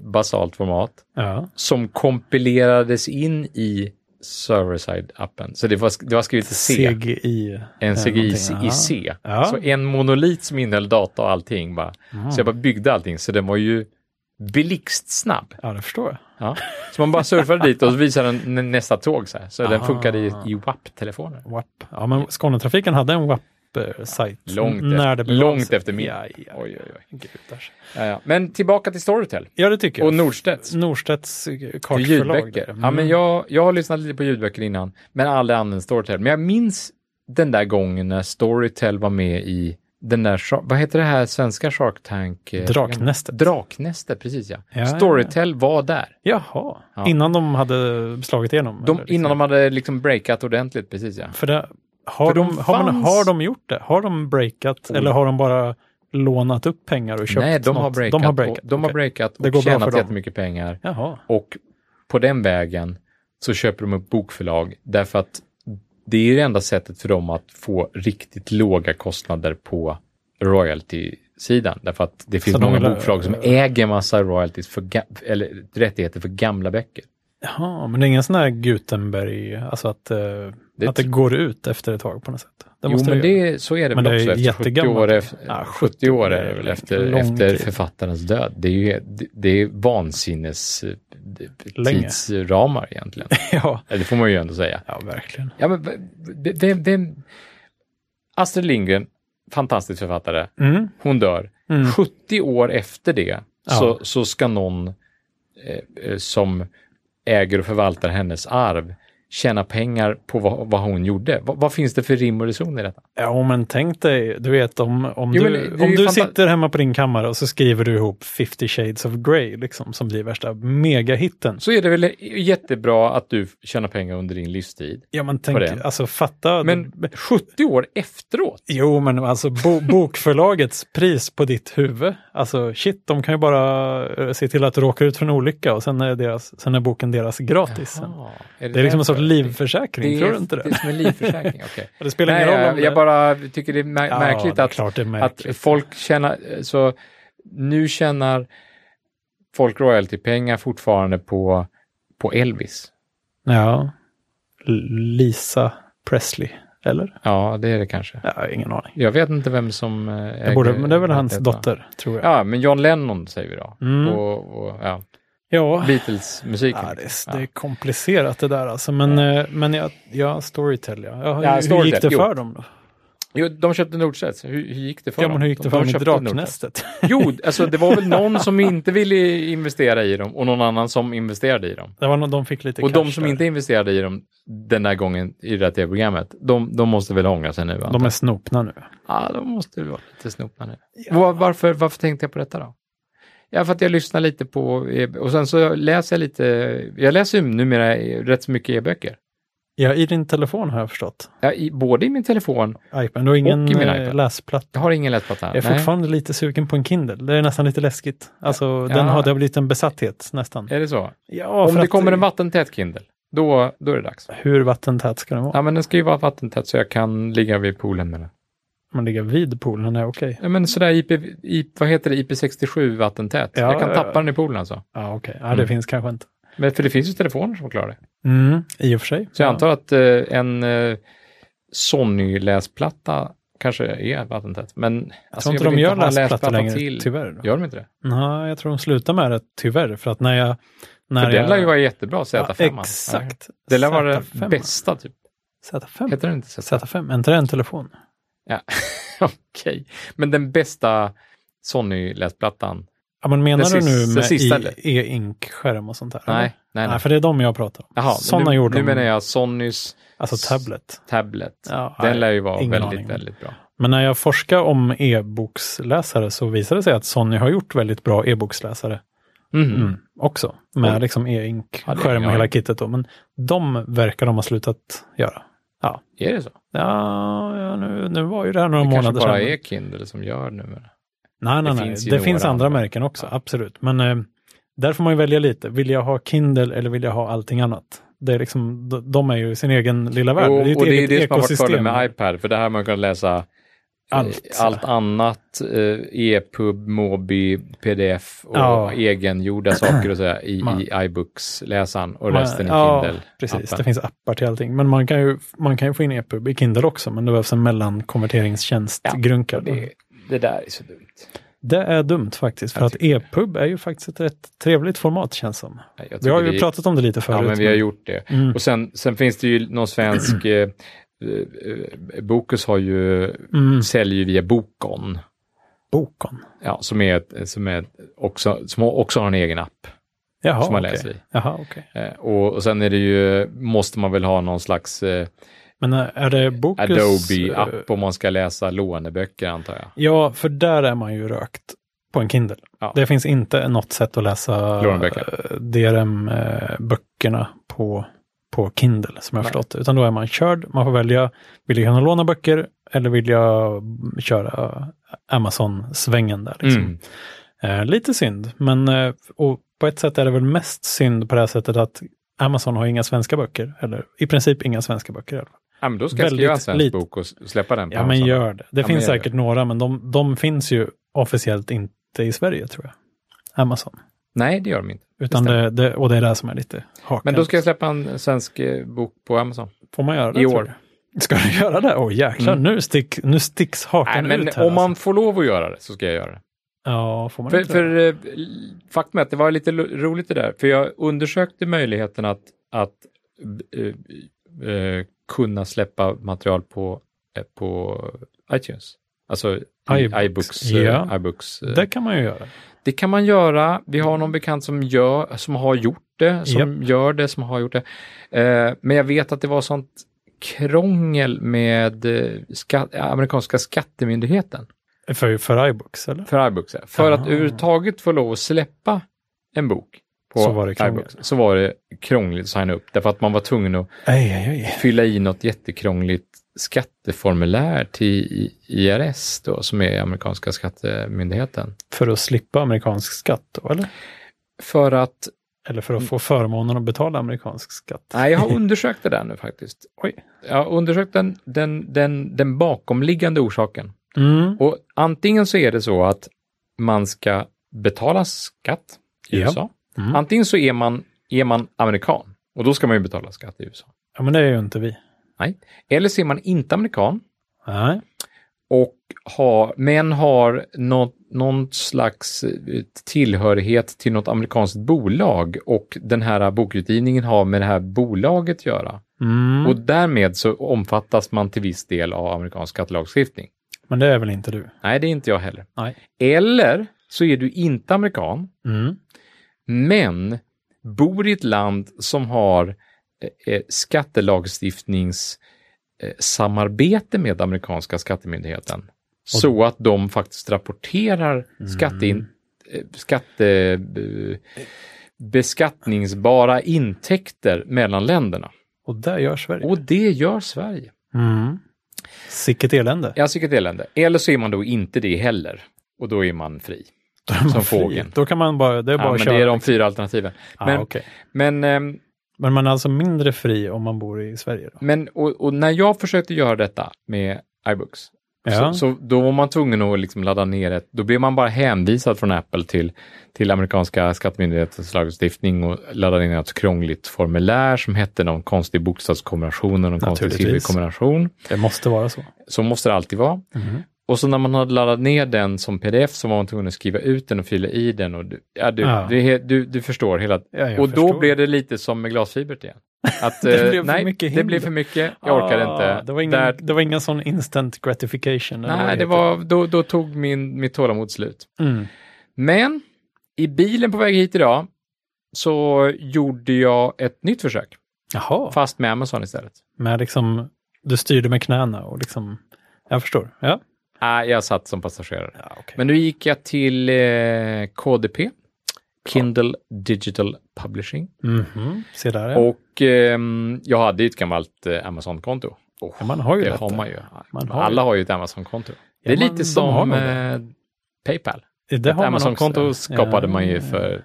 [SPEAKER 1] basalt format
[SPEAKER 2] ja.
[SPEAKER 1] som kompilerades in i server-side-appen. Så det var, det var skrivet i C,
[SPEAKER 2] CGI.
[SPEAKER 1] en CGI
[SPEAKER 2] någonting,
[SPEAKER 1] i
[SPEAKER 2] ja.
[SPEAKER 1] C.
[SPEAKER 2] Ja.
[SPEAKER 1] Så en monolit som innehöll data och allting. Bara. Så jag bara byggde allting, så den var ju blixtsnabb.
[SPEAKER 2] Ja, det förstår jag.
[SPEAKER 1] Ja. Så man bara surfade dit och så visade den n- nästa tåg. Så, här. så den
[SPEAKER 2] Ah.
[SPEAKER 1] funkade i, i WAP-telefoner.
[SPEAKER 2] WAP. Ja, men Skånetrafiken hade en WAP-sajt.
[SPEAKER 1] Långt,
[SPEAKER 2] när det
[SPEAKER 1] efter,
[SPEAKER 2] begav
[SPEAKER 1] långt
[SPEAKER 2] sig.
[SPEAKER 1] efter min.
[SPEAKER 2] Ja, ja.
[SPEAKER 1] Oj, oj, oj.
[SPEAKER 2] Gudars.
[SPEAKER 1] Ja, ja. Men tillbaka till Storytel
[SPEAKER 2] ja, det tycker jag.
[SPEAKER 1] och Nordstedts.
[SPEAKER 2] Norstedts
[SPEAKER 1] Till
[SPEAKER 2] kartförlag. Mm.
[SPEAKER 1] ljudböcker.
[SPEAKER 2] där.
[SPEAKER 1] Ja, men jag, jag har lyssnat lite på ljudböcker innan, men aldrig använt Storytel. Men jag minns den där gången när Storytel var med i den där, Shark- vad heter det här svenska Shark Tank? eh, programmet?
[SPEAKER 2] Draknästet.
[SPEAKER 1] Draknästet, precis ja.
[SPEAKER 2] Ja, ja, ja.
[SPEAKER 1] Storytel var där.
[SPEAKER 2] Jaha,
[SPEAKER 1] Ja.
[SPEAKER 2] innan de hade slagit igenom?
[SPEAKER 1] De,
[SPEAKER 2] eller liksom?
[SPEAKER 1] Innan de hade liksom breakat ordentligt, precis ja.
[SPEAKER 2] För det, har,
[SPEAKER 1] För de
[SPEAKER 2] de, har, man,
[SPEAKER 1] fanns-
[SPEAKER 2] har de gjort det? Har de breakat
[SPEAKER 1] Oj.
[SPEAKER 2] eller har de bara lånat upp pengar och köpt
[SPEAKER 1] Nej, de
[SPEAKER 2] något?
[SPEAKER 1] har breakat.
[SPEAKER 2] De har
[SPEAKER 1] och,
[SPEAKER 2] breakat.
[SPEAKER 1] de har
[SPEAKER 2] okej.
[SPEAKER 1] breakat och
[SPEAKER 2] Det går bra för
[SPEAKER 1] tjänat
[SPEAKER 2] dem.
[SPEAKER 1] jättemycket pengar.
[SPEAKER 2] Jaha,
[SPEAKER 1] Och på den vägen så köper de upp bokförlag därför att det är det enda sättet för dem att få riktigt låga kostnader på royalty-sidan. Därför att det finns
[SPEAKER 2] Så de
[SPEAKER 1] många
[SPEAKER 2] vill-
[SPEAKER 1] bokförlag som äger massa royalties för ga- eller rättigheter för gamla böcker.
[SPEAKER 2] Jaha, men det är ingen sån här Gutenberg, alltså att, eh, att det
[SPEAKER 1] tr-
[SPEAKER 2] går ut efter ett tag på något sätt? Det
[SPEAKER 1] jo,
[SPEAKER 2] måste
[SPEAKER 1] men
[SPEAKER 2] det göra.
[SPEAKER 1] det, så är det
[SPEAKER 2] Men
[SPEAKER 1] väl
[SPEAKER 2] det är
[SPEAKER 1] också. Efter 70
[SPEAKER 2] jättegammalt.
[SPEAKER 1] år, efter,
[SPEAKER 2] Ja,
[SPEAKER 1] 70 år är det väl
[SPEAKER 2] det är
[SPEAKER 1] efter,
[SPEAKER 2] lång
[SPEAKER 1] efter
[SPEAKER 2] tid.
[SPEAKER 1] författarens död. Det är ju det, det är vansinnes eh, d-
[SPEAKER 2] Länge.
[SPEAKER 1] tidsramar egentligen.
[SPEAKER 2] ja.
[SPEAKER 1] Det får man ju ändå säga.
[SPEAKER 2] ja, verkligen.
[SPEAKER 1] Ja, men v- v- vem, vem... Astrid Lindgren, fantastisk författare,
[SPEAKER 2] Mm.
[SPEAKER 1] hon dör.
[SPEAKER 2] Mm.
[SPEAKER 1] 70 år efter det
[SPEAKER 2] Ja.
[SPEAKER 1] så, så ska någon eh, eh, som äger och förvaltar hennes arv tjäna pengar på vad, vad hon gjorde. Vad, vad finns det för rim och reson i detta?
[SPEAKER 2] Ja, men tänk dig, du vet om, om
[SPEAKER 1] Jo, men det-
[SPEAKER 2] du,
[SPEAKER 1] det är
[SPEAKER 2] om
[SPEAKER 1] ju
[SPEAKER 2] du
[SPEAKER 1] fanta-
[SPEAKER 2] sitter hemma på din kammare och så skriver du ihop 50 shades of Grey, liksom, som blir värsta megahitten.
[SPEAKER 1] Så är det väl jättebra att du tjänar pengar under din livstid.
[SPEAKER 2] Ja, men tänk,
[SPEAKER 1] det.
[SPEAKER 2] alltså fatta.
[SPEAKER 1] Men 70 år efteråt?
[SPEAKER 2] Jo, men alltså bo bokförlagets pris på ditt huvud. Alltså shit, de kan ju bara eh, se till att du råkar ut för en olycka och sen är, deras, sen är boken deras gratis. sen.
[SPEAKER 1] Jaha,
[SPEAKER 2] Det är liksom en sorts
[SPEAKER 1] därför?
[SPEAKER 2] livförsäkring,
[SPEAKER 1] Det
[SPEAKER 2] tror
[SPEAKER 1] är,
[SPEAKER 2] du inte det?
[SPEAKER 1] det är som en livförsäkring, okej.
[SPEAKER 2] Och det spelar
[SPEAKER 1] Nej,
[SPEAKER 2] ingen roll om
[SPEAKER 1] jag,
[SPEAKER 2] det...
[SPEAKER 1] jag bara tycker det är mär-
[SPEAKER 2] Ja,
[SPEAKER 1] märkligt
[SPEAKER 2] det är
[SPEAKER 1] att
[SPEAKER 2] klart det är
[SPEAKER 1] att
[SPEAKER 2] märkligt.
[SPEAKER 1] folk tjänar, så nu tjänar folk royaltypengar fortfarande på, på Elvis.
[SPEAKER 2] Ja. Lisa Presley, eller?
[SPEAKER 1] Ja, det är det kanske.
[SPEAKER 2] Ja, ingen aning.
[SPEAKER 1] Jag vet inte vem som... eh,
[SPEAKER 2] Jag borde,
[SPEAKER 1] äger
[SPEAKER 2] men det är väl hans
[SPEAKER 1] rättigheterna.
[SPEAKER 2] dotter, tror jag.
[SPEAKER 1] Ja, men John Lennon säger vi då.
[SPEAKER 2] Mm.
[SPEAKER 1] Och, och ja,
[SPEAKER 2] Ja,
[SPEAKER 1] Beatles-musiken.
[SPEAKER 2] ja, det, är, det är komplicerat det där alltså. Men, eh, men jag, ja, Storytel, ja. ja,
[SPEAKER 1] Ja,
[SPEAKER 2] hur, hur
[SPEAKER 1] Storytel,
[SPEAKER 2] gick det
[SPEAKER 1] jo.
[SPEAKER 2] för dem då?
[SPEAKER 1] Jo, de köpte Nordstedts. Hur, hur gick det för
[SPEAKER 2] Ja,
[SPEAKER 1] dem?
[SPEAKER 2] men hur gick det
[SPEAKER 1] De-
[SPEAKER 2] för
[SPEAKER 1] de
[SPEAKER 2] dem i
[SPEAKER 1] köpte Nordstedts.
[SPEAKER 2] Draknästet?
[SPEAKER 1] Jo, alltså det var väl någon som inte ville investera i dem och någon annan som investerade i dem.
[SPEAKER 2] Det var någon, de fick lite
[SPEAKER 1] och
[SPEAKER 2] cash
[SPEAKER 1] de som
[SPEAKER 2] där.
[SPEAKER 1] inte investerade i dem den där gången i det här tv-programmet, de, de måste väl ångra sig nu? antar
[SPEAKER 2] De är
[SPEAKER 1] jag.
[SPEAKER 2] snopna nu.
[SPEAKER 1] Ja, de måste väl vara lite snopna nu. Var, varför, varför tänkte jag på detta då? Ja, för att jag lyssnar lite på, e- och sen så läser jag lite, jag läser ju numera rätt så mycket e-böcker.
[SPEAKER 2] Ja, i din telefon har jag förstått.
[SPEAKER 1] Ja, i, både i min telefon,
[SPEAKER 2] iPad. Du har ingen
[SPEAKER 1] Och i min
[SPEAKER 2] eh,
[SPEAKER 1] iPad.
[SPEAKER 2] läsplatta.
[SPEAKER 1] jag har ingen läsplatta.
[SPEAKER 2] Jag är
[SPEAKER 1] Nej.
[SPEAKER 2] fortfarande lite sugen på en Kindle. Det är nästan lite läskigt. Alltså, den har, det har blivit en besatthet nästan.
[SPEAKER 1] Är det så?
[SPEAKER 2] Ja,
[SPEAKER 1] Om
[SPEAKER 2] för
[SPEAKER 1] det
[SPEAKER 2] att- eh,
[SPEAKER 1] kommer en vattentät Kindle, då, då är det dags.
[SPEAKER 2] Hur vattentät ska den vara?
[SPEAKER 1] Ja, men den ska ju vara vattentät så jag kan ligga vid poolen med den.
[SPEAKER 2] Man ligger vid poolen är okej.
[SPEAKER 1] Ja, men sådär IP, IP, vad heter det, IP67 vattentät.
[SPEAKER 2] Ja,
[SPEAKER 1] jag kan
[SPEAKER 2] ja,
[SPEAKER 1] tappa
[SPEAKER 2] ja.
[SPEAKER 1] den i poolen alltså.
[SPEAKER 2] Ja, okej. Ja, det
[SPEAKER 1] Mm.
[SPEAKER 2] finns kanske inte.
[SPEAKER 1] Men, för det finns ju telefoner som klarar det.
[SPEAKER 2] Mm, I och för sig.
[SPEAKER 1] Så jag
[SPEAKER 2] Ja.
[SPEAKER 1] antar att eh, en eh, Sony-läsplatta kanske är vattentät. Men
[SPEAKER 2] Jag tror inte de gör läsplatta längre, Typ- tyvärr.
[SPEAKER 1] Gör de inte det?
[SPEAKER 2] Nej, jag tror de slutar med det, tyvärr. För att när jag... När
[SPEAKER 1] För
[SPEAKER 2] jag,
[SPEAKER 1] den lär ju vara jättebra, Z5.
[SPEAKER 2] Ja,
[SPEAKER 1] -an.
[SPEAKER 2] exakt.
[SPEAKER 1] Ja. alltså. Det lär vara
[SPEAKER 2] Z5.
[SPEAKER 1] den bästa, typ.
[SPEAKER 2] Z5?
[SPEAKER 1] Heter den inte Z5?
[SPEAKER 2] Z5, är inte det en telefon?
[SPEAKER 1] Okej. Men den bästa Sony-läsplattan?
[SPEAKER 2] Ja, men menar
[SPEAKER 1] Den
[SPEAKER 2] du nu
[SPEAKER 1] sista-
[SPEAKER 2] med
[SPEAKER 1] sista,
[SPEAKER 2] i-
[SPEAKER 1] eller?
[SPEAKER 2] e-ink-skärm och sånt där? eller?
[SPEAKER 1] Nej, nej, nej.
[SPEAKER 2] Nej, för det är de jag pratar om.
[SPEAKER 1] Jaha,
[SPEAKER 2] Sådana
[SPEAKER 1] nu,
[SPEAKER 2] gjorde
[SPEAKER 1] nu
[SPEAKER 2] de.
[SPEAKER 1] menar jag Sonys
[SPEAKER 2] Alltså tablet.
[SPEAKER 1] tablet.
[SPEAKER 2] Ja, nej.
[SPEAKER 1] den lär ju vara
[SPEAKER 2] ingen
[SPEAKER 1] väldigt,
[SPEAKER 2] aning.
[SPEAKER 1] väldigt bra.
[SPEAKER 2] Men när jag forskar om e-boksläsare så visar det sig att Sony har gjort väldigt bra e-boksläsare
[SPEAKER 1] Mhm.
[SPEAKER 2] mm. också. Med
[SPEAKER 1] Oj.
[SPEAKER 2] liksom
[SPEAKER 1] Ja, det-
[SPEAKER 2] e-ink-skärm och
[SPEAKER 1] ja.
[SPEAKER 2] hela kittet. Då. Men de verkar de ha slutat göra.
[SPEAKER 1] Är det så?
[SPEAKER 2] Ja, ja nu, nu var ju det här några
[SPEAKER 1] det kanske
[SPEAKER 2] månader
[SPEAKER 1] bara
[SPEAKER 2] sedan.
[SPEAKER 1] är Kindle som gör nu.
[SPEAKER 2] Nej, nej,
[SPEAKER 1] Det
[SPEAKER 2] nej.
[SPEAKER 1] finns ju
[SPEAKER 2] det
[SPEAKER 1] några
[SPEAKER 2] finns andra
[SPEAKER 1] andra.
[SPEAKER 2] märken också, absolut. Men eh, där får man ju välja lite. Vill jag ha Kindle eller vill jag ha allting annat? Det är liksom, de, de är ju sin egen lilla värld.
[SPEAKER 1] och,
[SPEAKER 2] ju ett
[SPEAKER 1] och det är
[SPEAKER 2] eget
[SPEAKER 1] det som har varit fördelen
[SPEAKER 2] ekosystem.
[SPEAKER 1] med iPad, för där har man kunnat läsa eh,
[SPEAKER 2] Allt.
[SPEAKER 1] allt annat, eh, EPUB, Mobi, PDF och
[SPEAKER 2] Ja.
[SPEAKER 1] egengjorda saker och sådär i,
[SPEAKER 2] Man-
[SPEAKER 1] i iBooks-läsaren och
[SPEAKER 2] Man-
[SPEAKER 1] resten i
[SPEAKER 2] ja,
[SPEAKER 1] Kindle.
[SPEAKER 2] Precis,
[SPEAKER 1] appen.
[SPEAKER 2] det finns appar till allting. Men man kan ju, man kan ju få in EPUB i Kindle också, men det behövs en mellankonverteringstjänst,
[SPEAKER 1] Ja,
[SPEAKER 2] grunkar.
[SPEAKER 1] Det, det där är så dumt.
[SPEAKER 2] Det är dumt faktiskt, för
[SPEAKER 1] Jag
[SPEAKER 2] att EPUB är ju faktiskt ett rätt trevligt format känns som.
[SPEAKER 1] Nej, Jag
[SPEAKER 2] Vi har
[SPEAKER 1] tycker
[SPEAKER 2] ju
[SPEAKER 1] det-
[SPEAKER 2] pratat om det lite
[SPEAKER 1] Ja,
[SPEAKER 2] förut.
[SPEAKER 1] men vi har gjort det.
[SPEAKER 2] Mm.
[SPEAKER 1] Och sen, sen finns det ju någon svensk, eh, eh, Bokus har ju,
[SPEAKER 2] Mm.
[SPEAKER 1] säljer ju via Bokon.
[SPEAKER 2] Bokon.
[SPEAKER 1] Ja, som, är ett, som, är ett- också, som också har en egen app
[SPEAKER 2] Jaha,
[SPEAKER 1] som man
[SPEAKER 2] okej.
[SPEAKER 1] läser i.
[SPEAKER 2] Jaha, okej.
[SPEAKER 1] Eh, Och, och sen är det ju, måste man väl ha någon slags eh,
[SPEAKER 2] Men eh, är det Bokus? eh,
[SPEAKER 1] Adobe-app om man ska läsa låneböcker antar jag.
[SPEAKER 2] Ja, för där är man ju rökt på en Kindle.
[SPEAKER 1] Ja.
[SPEAKER 2] Det finns inte något sätt att läsa eh,
[SPEAKER 1] Låneböcker.
[SPEAKER 2] DRM-böckerna på, på Kindle, som jag
[SPEAKER 1] Nej.
[SPEAKER 2] förstått det. Utan då är man körd, man får välja, vill jag kunna låna böcker eller vill jag mm, köra Amazon-svängen där? Liksom.
[SPEAKER 1] Mm.
[SPEAKER 2] Eh, lite synd, men eh, och på ett sätt är det väl mest synd på det här sättet att Amazon har inga svenska böcker, eller i princip inga svenska böcker. i alla fall.
[SPEAKER 1] Ja, men då ska jag
[SPEAKER 2] Väldigt
[SPEAKER 1] skriva en svensk
[SPEAKER 2] lite.
[SPEAKER 1] bok och s- släppa den. på
[SPEAKER 2] Ja, men
[SPEAKER 1] Amazon.
[SPEAKER 2] gör det. Det
[SPEAKER 1] Ja, men
[SPEAKER 2] finns
[SPEAKER 1] gör
[SPEAKER 2] säkert några, men de, de finns ju officiellt inte i Sverige, tror jag. Amazon.
[SPEAKER 1] Nej, det gör de inte.
[SPEAKER 2] Utan
[SPEAKER 1] stämmer.
[SPEAKER 2] det, det, och det är det som är lite haken.
[SPEAKER 1] Men då ska jag släppa en svensk eh, bok på Amazon.
[SPEAKER 2] Får man göra det?
[SPEAKER 1] i
[SPEAKER 2] tror
[SPEAKER 1] år.
[SPEAKER 2] jag. Ska du göra det? Åh jäklar,
[SPEAKER 1] Mm.
[SPEAKER 2] nu, stick, nu sticks
[SPEAKER 1] Nej,
[SPEAKER 2] hakan
[SPEAKER 1] men
[SPEAKER 2] ut här.
[SPEAKER 1] om man får lov att göra det så ska jag göra det.
[SPEAKER 2] alltså. Ja, får man
[SPEAKER 1] För,
[SPEAKER 2] inte
[SPEAKER 1] för
[SPEAKER 2] det?
[SPEAKER 1] eh, faktum är att det var lite lo- roligt det där, för jag undersökte möjligheten att, att eh, eh, kunna släppa material på, eh, på iTunes. Alltså i
[SPEAKER 2] iBooks.
[SPEAKER 1] iBooks. eh,
[SPEAKER 2] Ja.
[SPEAKER 1] iBooks eh.
[SPEAKER 2] Det kan man ju göra.
[SPEAKER 1] Det kan man göra. Vi har någon bekant som, gör, som har gjort det, som gör det, som har gjort det. Eh, men jag vet att det var sånt krångel med eh, skatt, amerikanska skattemyndigheten
[SPEAKER 2] För, för iBooks, eller?
[SPEAKER 1] för iBooks. ja. För att
[SPEAKER 2] Aha.
[SPEAKER 1] överhuvudtaget få lov att släppa en bok på
[SPEAKER 2] Så var det krångel.
[SPEAKER 1] iBooks så var det krångligt att signa upp. Därför att man var tvungen att
[SPEAKER 2] Aj, aj, aj.
[SPEAKER 1] fylla i något jättekrångligt skatteformulär till IRS då, som är amerikanska skattemyndigheten.
[SPEAKER 2] För att slippa amerikansk skatt då, eller?
[SPEAKER 1] För att,
[SPEAKER 2] Eller för att få förmånen att betala amerikansk skatt.
[SPEAKER 1] Mm. nej jag har undersökt det där nu faktiskt.
[SPEAKER 2] Oj.
[SPEAKER 1] Jag har undersökt den, den, den, den bakomliggande orsaken.
[SPEAKER 2] Mm.
[SPEAKER 1] Och antingen så är det så att man ska betala skatt i
[SPEAKER 2] Ja.
[SPEAKER 1] USA.
[SPEAKER 2] Mm.
[SPEAKER 1] Antingen så är man, är man amerikan och då ska man ju betala skatt i USA.
[SPEAKER 2] Ja, men det är ju inte vi.
[SPEAKER 1] Eller så är man inte amerikan
[SPEAKER 2] Nej.
[SPEAKER 1] och har, men har något, någon slags eh, tillhörighet till något amerikanskt bolag och den här bokutgivningen har med det här bolaget att göra.
[SPEAKER 2] Mm.
[SPEAKER 1] Och därmed så omfattas man till viss del av amerikansk skattelagstiftning.
[SPEAKER 2] Men det är väl inte du?
[SPEAKER 1] Nej, det är inte jag heller.
[SPEAKER 2] Nej.
[SPEAKER 1] Eller så är du inte amerikan,
[SPEAKER 2] Mm.
[SPEAKER 1] men bor i ett land som har eh, eh, skattelagstiftnings eh, samarbete med amerikanska skattemyndigheten. Så att de faktiskt rapporterar
[SPEAKER 2] Mm.
[SPEAKER 1] skattein, eh, skatte, be- beskattningsbara intäkter mellan länderna.
[SPEAKER 2] Och där gör Sverige.
[SPEAKER 1] Och det gör Sverige.
[SPEAKER 2] Mm. Sicket elände.
[SPEAKER 1] Ja, vilket elände. Eller så är man då inte det heller. Och då är man fri. Som fågeln.
[SPEAKER 2] Då kan man bara, det är bara
[SPEAKER 1] Ja,
[SPEAKER 2] att
[SPEAKER 1] men
[SPEAKER 2] köra. liksom.
[SPEAKER 1] det är de fyra alternativen.
[SPEAKER 2] men,
[SPEAKER 1] Men,
[SPEAKER 2] ah, okej.
[SPEAKER 1] men, ehm,
[SPEAKER 2] men man är alltså mindre fri om man bor i Sverige? Då?
[SPEAKER 1] men och, och när jag försökte göra detta med iBooks, så,
[SPEAKER 2] Ja.
[SPEAKER 1] så då var man tvungen att liksom ladda ner ett, då blev man bara hänvisad från Apple till, till amerikanska skattemyndighetens lagstiftning och laddade ner ett krångligt formulär som hette någon konstig bokstavskombination och någon konstig
[SPEAKER 2] Naturligtvis.
[SPEAKER 1] sifferkombination.
[SPEAKER 2] Det måste vara så.
[SPEAKER 1] Så måste det alltid vara.
[SPEAKER 2] Mhm.
[SPEAKER 1] Och så när man hade laddat ner den som pdf så var man tvungen att skriva ut den och fylla i den. Och du, ja, du,
[SPEAKER 2] Ja.
[SPEAKER 1] det är he- du, du förstår hela...
[SPEAKER 2] Ja, jag
[SPEAKER 1] och
[SPEAKER 2] förstår.
[SPEAKER 1] då blev det lite som med glasfibret igen. Att,
[SPEAKER 2] Det
[SPEAKER 1] eh,
[SPEAKER 2] blev för
[SPEAKER 1] nej,
[SPEAKER 2] mycket
[SPEAKER 1] det
[SPEAKER 2] hinder.
[SPEAKER 1] blev för mycket. Jag orkade
[SPEAKER 2] Ah,
[SPEAKER 1] inte.
[SPEAKER 2] Det var ingen,
[SPEAKER 1] Där,
[SPEAKER 2] det var ingen sån instant gratification. eller vad
[SPEAKER 1] nej, det
[SPEAKER 2] heter.
[SPEAKER 1] var, då, då tog min, mitt tålamod slut.
[SPEAKER 2] Mm.
[SPEAKER 1] Men i bilen på väg hit idag så gjorde jag ett nytt försök,
[SPEAKER 2] Jaha,
[SPEAKER 1] fast med Amazon istället.
[SPEAKER 2] med liksom, du styrde med knäna och liksom, jag förstår. Ja,
[SPEAKER 1] Ah, jag satt som passagerare.
[SPEAKER 2] ja okej.
[SPEAKER 1] Men nu gick jag till eh, KDP, Kindle Digital Publishing.
[SPEAKER 2] Mhm, Se där, ja.
[SPEAKER 1] Och ehm, jag hade ju ett gammalt eh, Amazon-konto. Oh,
[SPEAKER 2] Ja, man har ju
[SPEAKER 1] det
[SPEAKER 2] detta.
[SPEAKER 1] har man ju.
[SPEAKER 2] Man har
[SPEAKER 1] Alla har ju ett Amazon-konto. det är
[SPEAKER 2] man-
[SPEAKER 1] lite
[SPEAKER 2] de har
[SPEAKER 1] som
[SPEAKER 2] nog
[SPEAKER 1] eh, Paypal.
[SPEAKER 2] det
[SPEAKER 1] ett
[SPEAKER 2] har man
[SPEAKER 1] Amazon-konto
[SPEAKER 2] också.
[SPEAKER 1] eh, skapade
[SPEAKER 2] Ja. Mm.
[SPEAKER 1] man ju för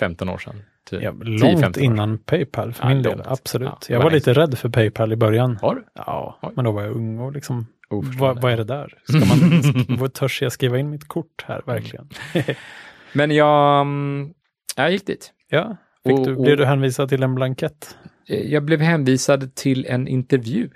[SPEAKER 1] 15 år sedan. Typ.
[SPEAKER 2] Ja,
[SPEAKER 1] 10-15
[SPEAKER 2] långt
[SPEAKER 1] år.
[SPEAKER 2] innan Paypal för
[SPEAKER 1] Ja,
[SPEAKER 2] min del,
[SPEAKER 1] långt.
[SPEAKER 2] absolut.
[SPEAKER 1] Ja,
[SPEAKER 2] jag var
[SPEAKER 1] nice.
[SPEAKER 2] lite rädd för Paypal i början.
[SPEAKER 1] Har du?
[SPEAKER 2] Ja,
[SPEAKER 1] Oj.
[SPEAKER 2] men då var jag ung och liksom,
[SPEAKER 1] Oförstående.
[SPEAKER 2] vad, vad är det där? Ska man, vad törs jag skriva in mitt kort här verkligen?
[SPEAKER 1] Mm. Men jag, mm, jag gick dit.
[SPEAKER 2] Ja, fick
[SPEAKER 1] Och-
[SPEAKER 2] du,
[SPEAKER 1] och-
[SPEAKER 2] blev du hänvisad till en blankett?
[SPEAKER 1] Eh, Jag blev hänvisad till en intervju.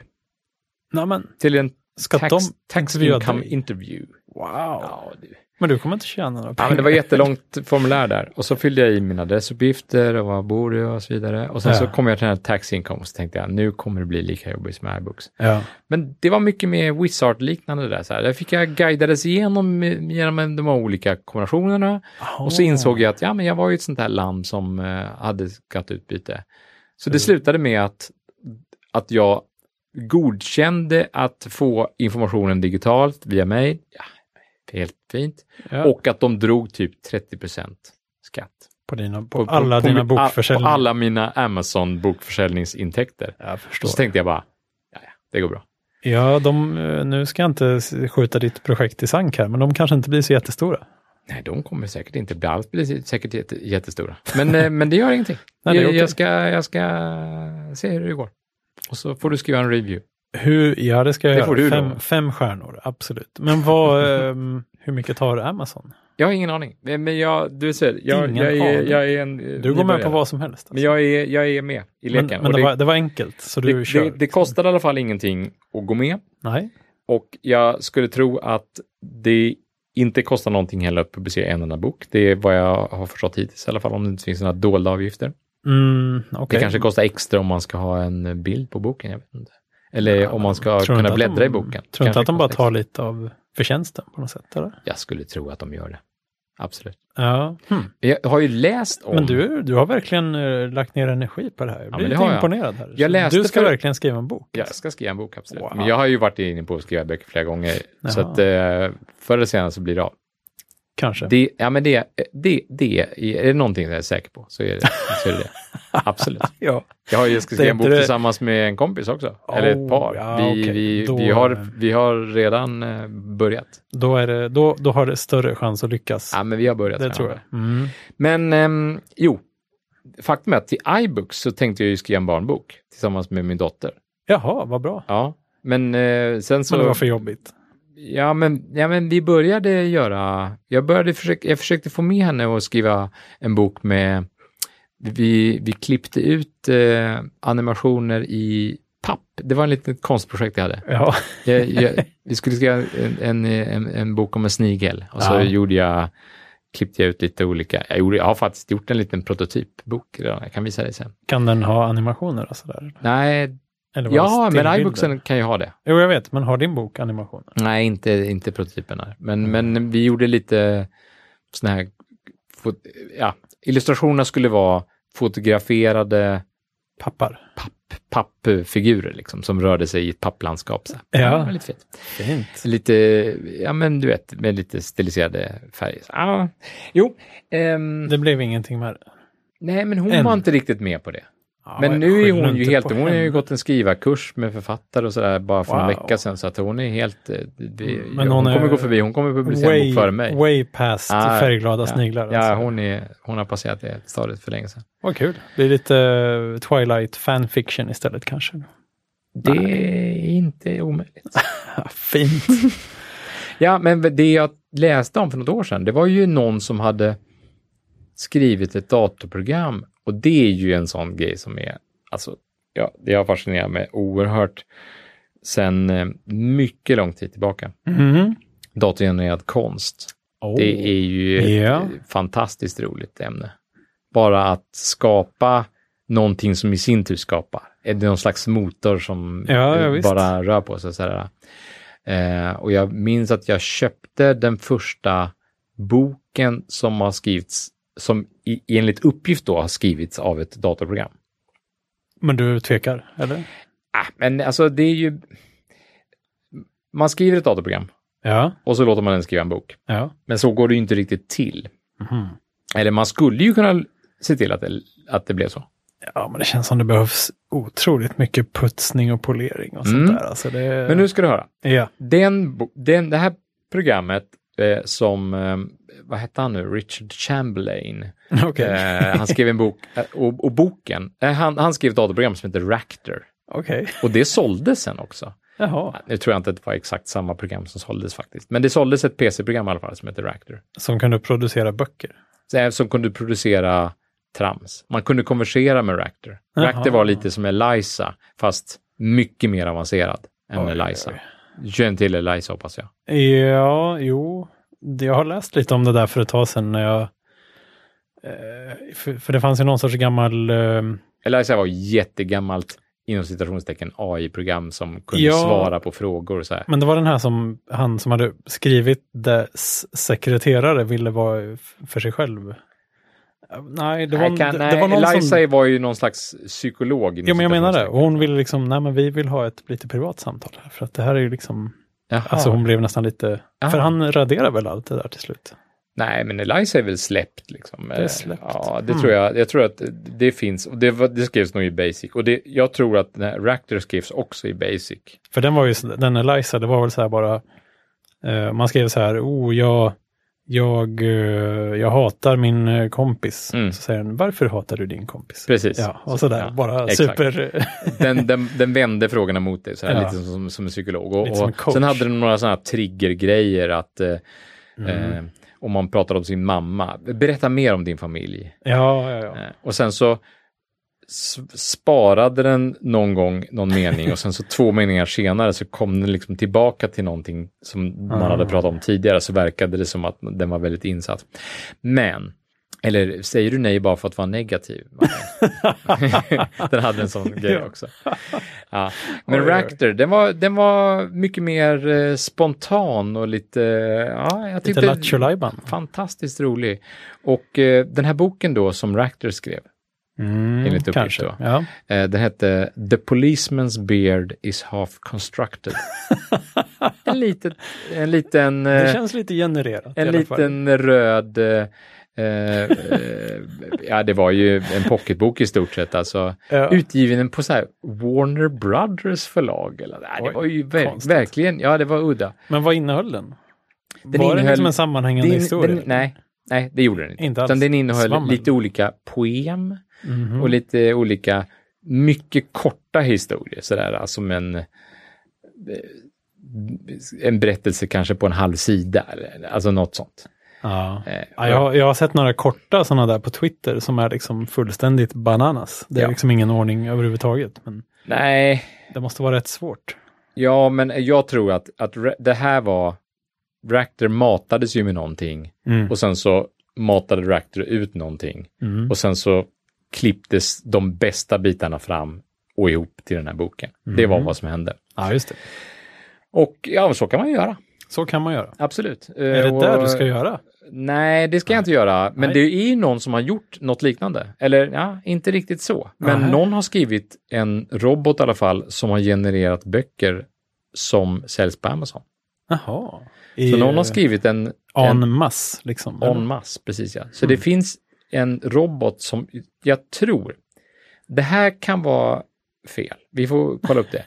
[SPEAKER 2] Nej men,
[SPEAKER 1] Till en
[SPEAKER 2] ska
[SPEAKER 1] tax,
[SPEAKER 2] de
[SPEAKER 1] tax
[SPEAKER 2] intervjua
[SPEAKER 1] income
[SPEAKER 2] dig?
[SPEAKER 1] interview.
[SPEAKER 2] Wow.
[SPEAKER 1] Ja, du.
[SPEAKER 2] Men du kommer inte tjäna några
[SPEAKER 1] Ja,
[SPEAKER 2] pengar.
[SPEAKER 1] men det var jättelångt formulär där. Och så fyllde jag i mina adressuppgifter och var bor jag och så vidare. Och sen
[SPEAKER 2] Ja.
[SPEAKER 1] så kom jag till den här tax income och så tänkte jag, nu kommer det bli lika jobbigt som iBooks.
[SPEAKER 2] ja.
[SPEAKER 1] Men det var mycket mer Wizard-liknande där. Så här. Där fick jag guidades igenom eh, genom de här olika kombinationerna. Och
[SPEAKER 2] Ah.
[SPEAKER 1] så insåg jag att ja, men jag var ju ett sånt här lamm som eh, hade skatteutbyte. Så det slutade med att, att jag godkände att få informationen digitalt via mail. Ja, helt fint.
[SPEAKER 2] Ja,
[SPEAKER 1] Och att de drog typ 30 skatt.
[SPEAKER 2] på, dina, på, alla dina
[SPEAKER 1] mi-
[SPEAKER 2] bokförsäljningar.
[SPEAKER 1] På alla mina Amazon bokförsäljningsintäkter.
[SPEAKER 2] Jag
[SPEAKER 1] Och
[SPEAKER 2] förstår.
[SPEAKER 1] så tänkte jag bara, ja, ja, det går bra.
[SPEAKER 2] Ja, de, eh, nu ska jag inte s- skjuta ditt projekt i sank här, men de kanske inte blir så jättestora.
[SPEAKER 1] Nej, de kommer säkert inte bli alls bli säkert jätte, jättestora. Men, eh, men det gör ingenting.
[SPEAKER 2] Nej, det är
[SPEAKER 1] jag,
[SPEAKER 2] okej.
[SPEAKER 1] jag, ska, jag ska se hur det går. Och så får du skriva en review.
[SPEAKER 2] Hur, ja, det ska jag
[SPEAKER 1] Det
[SPEAKER 2] göra.
[SPEAKER 1] får du
[SPEAKER 2] fem,
[SPEAKER 1] lova.
[SPEAKER 2] fem stjärnor, absolut. Men vad, ehm, hur mycket tar Amazon?
[SPEAKER 1] Jag har ingen aning. Men men jag, du ser, jag,
[SPEAKER 2] Ingen
[SPEAKER 1] jag, är,
[SPEAKER 2] aning.
[SPEAKER 1] jag är en... eh,
[SPEAKER 2] Du går med på vad som helst. alltså.
[SPEAKER 1] Men jag är, jag är med i leken.
[SPEAKER 2] men, men
[SPEAKER 1] Och
[SPEAKER 2] det,
[SPEAKER 1] det,
[SPEAKER 2] var, det var enkelt, så du
[SPEAKER 1] det,
[SPEAKER 2] kör.
[SPEAKER 1] det, det kostade i alla fall ingenting att gå med.
[SPEAKER 2] Nej,
[SPEAKER 1] Och jag skulle tro att det inte kostar någonting heller att publicera en enda bok. Det är vad jag har förstått hittills i alla fall, om det inte finns några dolda avgifter.
[SPEAKER 2] mm, okej.
[SPEAKER 1] Det kanske kostar extra om man ska ha en bild på boken, jag vet inte. Eller om man ska
[SPEAKER 2] Tror du inte
[SPEAKER 1] kunna
[SPEAKER 2] att
[SPEAKER 1] bläddra
[SPEAKER 2] de-
[SPEAKER 1] i boken.
[SPEAKER 2] Tror du inte
[SPEAKER 1] Kanske
[SPEAKER 2] att de bara
[SPEAKER 1] kostar
[SPEAKER 2] tar lite av förtjänsten på något sätt? Eller?
[SPEAKER 1] extra. Jag skulle tro att de gör det. Absolut.
[SPEAKER 2] Ja. Hmm.
[SPEAKER 1] Jag har ju läst om...
[SPEAKER 2] Men du, du har verkligen eh, lagt ner energi på det här. Jag
[SPEAKER 1] Ja,
[SPEAKER 2] blir
[SPEAKER 1] men det
[SPEAKER 2] lite
[SPEAKER 1] har jag.
[SPEAKER 2] imponerad här.
[SPEAKER 1] Jag
[SPEAKER 2] Så
[SPEAKER 1] läste
[SPEAKER 2] du ska
[SPEAKER 1] för-
[SPEAKER 2] verkligen skriva en bok.
[SPEAKER 1] Jag ska skriva en bok, absolut.
[SPEAKER 2] Wow.
[SPEAKER 1] Men jag har ju varit inne på att skriva böcker flera gånger. Så
[SPEAKER 2] Jaha.
[SPEAKER 1] att eh, förr eller senare så blir det av.
[SPEAKER 2] Kanske.
[SPEAKER 1] Det, ja, men det, det, det, är det någonting jag är säker på så är det så är det, det. Absolut.
[SPEAKER 2] ja.
[SPEAKER 1] Jag har ju skrivit
[SPEAKER 2] Det är
[SPEAKER 1] en bok
[SPEAKER 2] inte det-
[SPEAKER 1] tillsammans med en kompis också. Eller ett par.
[SPEAKER 2] Oh, ja,
[SPEAKER 1] vi,
[SPEAKER 2] okej.
[SPEAKER 1] vi,
[SPEAKER 2] Då-
[SPEAKER 1] vi, har, vi har redan eh, börjat.
[SPEAKER 2] Då, är det, då, då har det större chans att lyckas.
[SPEAKER 1] Ja, men vi har börjat.
[SPEAKER 2] det
[SPEAKER 1] redan.
[SPEAKER 2] tror jag. Mm.
[SPEAKER 1] Men ehm, jo, faktum är att till iBooks så tänkte jag ju skriva en barnbok tillsammans med min dotter.
[SPEAKER 2] Jaha, vad bra.
[SPEAKER 1] Ja, men eh, sen så...
[SPEAKER 2] Men det var för jobbigt.
[SPEAKER 1] Ja men, ja, men vi började göra... Jag, började försöka, jag försökte få med henne att skriva en bok med... Vi, vi klippte ut eh, animationer i papp. Det var ett litet konstprojekt jag hade.
[SPEAKER 2] Ja.
[SPEAKER 1] Jag, jag, vi skulle skriva en, en, en, en bok om en snigel och så
[SPEAKER 2] Ja.
[SPEAKER 1] gjorde jag, klippte jag ut lite olika. Jag, gjorde, jag har faktiskt gjort en liten prototypbok redan. Jag kan visa dig sen.
[SPEAKER 2] Kan den ha animationer och sådär?
[SPEAKER 1] Nej,
[SPEAKER 2] Eller var det
[SPEAKER 1] Ja, men
[SPEAKER 2] stillbilder?
[SPEAKER 1] iBooksen kan ju ha det.
[SPEAKER 2] Jo, jag vet, men har din bok animationer?
[SPEAKER 1] Nej, inte, inte prototypen. Här. Men,
[SPEAKER 2] Mm.
[SPEAKER 1] men vi gjorde lite såna här... fot- Ja, illustrationerna skulle vara fotograferade
[SPEAKER 2] Pappar.
[SPEAKER 1] pappfigurer liksom, som rörde sig i ett papplandskap. Så. här.
[SPEAKER 2] Ja.
[SPEAKER 1] det var lite fint.
[SPEAKER 2] Fint.
[SPEAKER 1] Lite, ja men du vet, med lite stiliserade färger. Så, ah. Jo, ehm,
[SPEAKER 2] Det blev ingenting med det.
[SPEAKER 1] nej men hon
[SPEAKER 2] En.
[SPEAKER 1] var inte riktigt med på det.
[SPEAKER 2] Ja,
[SPEAKER 1] men
[SPEAKER 2] jag
[SPEAKER 1] nu är
[SPEAKER 2] skyller
[SPEAKER 1] hon ju
[SPEAKER 2] inte
[SPEAKER 1] helt,
[SPEAKER 2] på
[SPEAKER 1] hon har
[SPEAKER 2] henne.
[SPEAKER 1] ju gått en skrivarkurs med författare och sådär bara för en
[SPEAKER 2] Wow.
[SPEAKER 1] vecka sedan så att hon är helt, eh, vi,
[SPEAKER 2] Mm,
[SPEAKER 1] men
[SPEAKER 2] men
[SPEAKER 1] hon,
[SPEAKER 2] hon
[SPEAKER 1] kommer
[SPEAKER 2] är
[SPEAKER 1] gå förbi, hon kommer publicera en bok före mig.
[SPEAKER 2] way past
[SPEAKER 1] Ah,
[SPEAKER 2] färgglada
[SPEAKER 1] ja.
[SPEAKER 2] sniglar.
[SPEAKER 1] Ja,
[SPEAKER 2] alltså.
[SPEAKER 1] hon, är, hon har passerat det stadiet för länge sedan.
[SPEAKER 2] Vad kul. Det är lite eh, Twilight fanfiction istället kanske.
[SPEAKER 1] Det är inte omöjligt.
[SPEAKER 2] Fint.
[SPEAKER 1] Ja, men det jag läste om för något år sedan, det var ju någon som hade skrivit ett datorprogram och det är ju en sån grej som är, alltså, ja, det har fascinerat mig oerhört sen eh, mycket lång tid tillbaka.
[SPEAKER 2] Mm.
[SPEAKER 1] Datorgenererad konst.
[SPEAKER 2] Oh.
[SPEAKER 1] Det är ju
[SPEAKER 2] Ja.
[SPEAKER 1] ett fantastiskt roligt ämne. Bara att skapa någonting som i sin tur skapar. Är det någon slags motor som
[SPEAKER 2] Ja, ja,
[SPEAKER 1] eh,
[SPEAKER 2] visst.
[SPEAKER 1] bara rör på sig? Så här. Eh, och jag minns att jag köpte den första boken som har skrivits, som i, enligt uppgift då har skrivits av ett datorprogram.
[SPEAKER 2] Men du tvekar, eller?
[SPEAKER 1] Ah, men alltså det är ju... Man skriver ett datorprogram
[SPEAKER 2] Ja.
[SPEAKER 1] och så låter man den skriva en bok.
[SPEAKER 2] ja.
[SPEAKER 1] Men så går det ju inte riktigt till.
[SPEAKER 2] Mhm.
[SPEAKER 1] Eller man skulle ju kunna se till att det, att det blev så.
[SPEAKER 2] Ja, men det känns som det behövs otroligt mycket putsning och polering och
[SPEAKER 1] Mm.
[SPEAKER 2] sånt där. Alltså det...
[SPEAKER 1] Men nu ska du höra.
[SPEAKER 2] Ja.
[SPEAKER 1] Den, bo- den, det här programmet eh, som, eh, vad hette han nu, Richard Chamberlain.
[SPEAKER 2] Okej.
[SPEAKER 1] Eh, han skrev en bok, eh, och, och boken, eh, han, han skrev ett datorprogram som heter Ractor.
[SPEAKER 2] Okej.
[SPEAKER 1] Och det såldes sen också.
[SPEAKER 2] Jaha.
[SPEAKER 1] Nu tror jag inte att det var exakt samma program som såldes faktiskt. Men det såldes ett PC-program i alla fall som heter Ractor.
[SPEAKER 2] Som kunde producera böcker.
[SPEAKER 1] Så här, Som kunde producera trams. Man kunde konversera med Ractor.
[SPEAKER 2] Jaha.
[SPEAKER 1] Ractor var lite som Eliza, fast mycket mer avancerad än
[SPEAKER 2] Oj,
[SPEAKER 1] Eliza.
[SPEAKER 2] oj,
[SPEAKER 1] Du känner till Eliza hoppas jag.
[SPEAKER 2] Ja, jo. Det- Jag har läst lite om det där för ett tag sedan när jag... eh, För, för det fanns ju någon sorts gammal... eh,
[SPEAKER 1] Eliza var jättegammalt inom citationstecken AI-program som kunde
[SPEAKER 2] Ja.
[SPEAKER 1] svara på frågor och så här.
[SPEAKER 2] Men det var den här som han som hade skrivit dess sekreterare ville vara f- för sig själv. Eh, Nej, det var,
[SPEAKER 1] Nej, kan,
[SPEAKER 2] det, det var någon
[SPEAKER 1] Eliza
[SPEAKER 2] som...
[SPEAKER 1] var ju någon slags psykolog. inom
[SPEAKER 2] Jo, men jag menar det.
[SPEAKER 1] citationstecken.
[SPEAKER 2] Och hon ville liksom, nej men vi vill ha ett lite privat samtal här. För att det här är ju liksom...
[SPEAKER 1] Jaha.
[SPEAKER 2] Alltså hon blev nästan lite...
[SPEAKER 1] Ah.
[SPEAKER 2] För han raderar väl allt det där till slut?
[SPEAKER 1] Nej, men Eliza är väl släppt. Liksom.
[SPEAKER 2] är släppt.
[SPEAKER 1] Ja, det
[SPEAKER 2] Mm.
[SPEAKER 1] tror jag. Jag tror att det finns. Och det, var- det skrevs nog i Basic. Och det, jag tror att den här Ractor skrevs också i Basic.
[SPEAKER 2] För den var ju, den Eliza, det var väl så här bara, eh, man skrev så här, oh, jag, jag, eh, jag hatar min eh, kompis.
[SPEAKER 1] Mm.
[SPEAKER 2] Så säger den, varför hatar du din kompis?
[SPEAKER 1] Precis.
[SPEAKER 2] Ja, och så där,
[SPEAKER 1] Ja,
[SPEAKER 2] bara
[SPEAKER 1] exakt.
[SPEAKER 2] super...
[SPEAKER 1] Den, den, den vände frågorna mot dig, så här,
[SPEAKER 2] Ja.
[SPEAKER 1] lite som, som en psykolog. Och,
[SPEAKER 2] Lite som en
[SPEAKER 1] och
[SPEAKER 2] coach.
[SPEAKER 1] sen hade den några sådana här triggergrejer att eh,
[SPEAKER 2] Mm.
[SPEAKER 1] eh, om man pratar om sin mamma, berätta mer om din familj.
[SPEAKER 2] Ja, ja, ja.
[SPEAKER 1] Eh, och sen så s- sparade den någon gång någon mening och sen så två meningar senare så kom den liksom tillbaka till någonting som man
[SPEAKER 2] Ah.
[SPEAKER 1] hade pratat om tidigare så verkade det som att den var väldigt insatt. Men, eller säger du nej bara för att vara negativ? den hade en sån grej
[SPEAKER 2] Ja.
[SPEAKER 1] också. Ja. Men
[SPEAKER 2] Oj, oj, oj.
[SPEAKER 1] Ractor, den var, den var mycket mer eh, spontan och lite, ja, jag
[SPEAKER 2] Lite
[SPEAKER 1] tyckte
[SPEAKER 2] Lattjo Lajban.
[SPEAKER 1] fantastiskt rolig. Och eh, den här boken då som Ractor skrev,
[SPEAKER 2] Mm,
[SPEAKER 1] Enligt uppgift
[SPEAKER 2] kanske.
[SPEAKER 1] då.
[SPEAKER 2] Ja.
[SPEAKER 1] eh, den hette The Policeman's Beard is Half Constructed. en, litet, en liten,
[SPEAKER 2] Det
[SPEAKER 1] eh,
[SPEAKER 2] känns lite genererat. i
[SPEAKER 1] en
[SPEAKER 2] alla fall.
[SPEAKER 1] liten röd, eh, eh, eh, ja det var ju en pocketbok i stort sett alltså.
[SPEAKER 2] Ja.
[SPEAKER 1] Utgiven på så här Warner Brothers förlag. Eller, nej, det
[SPEAKER 2] Oj,
[SPEAKER 1] var ju ver-
[SPEAKER 2] konstigt.
[SPEAKER 1] verkligen, ja det var udda.
[SPEAKER 2] Men vad innehöll den?
[SPEAKER 1] Den
[SPEAKER 2] var det
[SPEAKER 1] innehöll-
[SPEAKER 2] liksom en sammanhängande
[SPEAKER 1] Den-
[SPEAKER 2] historia? liksom.
[SPEAKER 1] den- nej, nej, det gjorde den inte.
[SPEAKER 2] Inte alls.
[SPEAKER 1] Utan den innehöll
[SPEAKER 2] Svammel.
[SPEAKER 1] lite olika poem
[SPEAKER 2] Mhm.
[SPEAKER 1] och lite olika, mycket korta historier, sådär alltså som en, eh, en berättelse kanske på en halv sida, eller, alltså något sånt.
[SPEAKER 2] Ja.
[SPEAKER 1] Eh,
[SPEAKER 2] Ja, jag, har- jag har sett några korta sådana där på Twitter som är liksom fullständigt bananas. Det är
[SPEAKER 1] Ja.
[SPEAKER 2] liksom ingen ordning överhuvudtaget. Men
[SPEAKER 1] Nej,
[SPEAKER 2] det måste vara rätt svårt.
[SPEAKER 1] ja men jag tror att, att Ra- det här var, Ractor matades ju med någonting
[SPEAKER 2] Mm.
[SPEAKER 1] och sen så matade Ractor ut någonting
[SPEAKER 2] Mm.
[SPEAKER 1] och sen så klipptes de bästa bitarna fram och ihop till den här boken. Det var
[SPEAKER 2] Mhm.
[SPEAKER 1] vad som hände.
[SPEAKER 2] Ja, just det.
[SPEAKER 1] Och ja, så kan man ju göra.
[SPEAKER 2] Så kan man göra.
[SPEAKER 1] Absolut. Eh,
[SPEAKER 2] Är det där du ska göra?
[SPEAKER 1] Nej, det ska jag inte göra. Men
[SPEAKER 2] Nej.
[SPEAKER 1] det är ju någon som har gjort något liknande. Eller ja, inte riktigt så. Men
[SPEAKER 2] Nej.
[SPEAKER 1] någon har skrivit en robot i alla fall som har genererat böcker som säljs på Amazon.
[SPEAKER 2] Jaha.
[SPEAKER 1] Så
[SPEAKER 2] I,
[SPEAKER 1] någon har skrivit en en-
[SPEAKER 2] En mass, liksom.
[SPEAKER 1] en mass, precis ja. Så
[SPEAKER 2] Mm.
[SPEAKER 1] det finns en robot som jag tror, det här kan vara fel, vi får kolla upp det.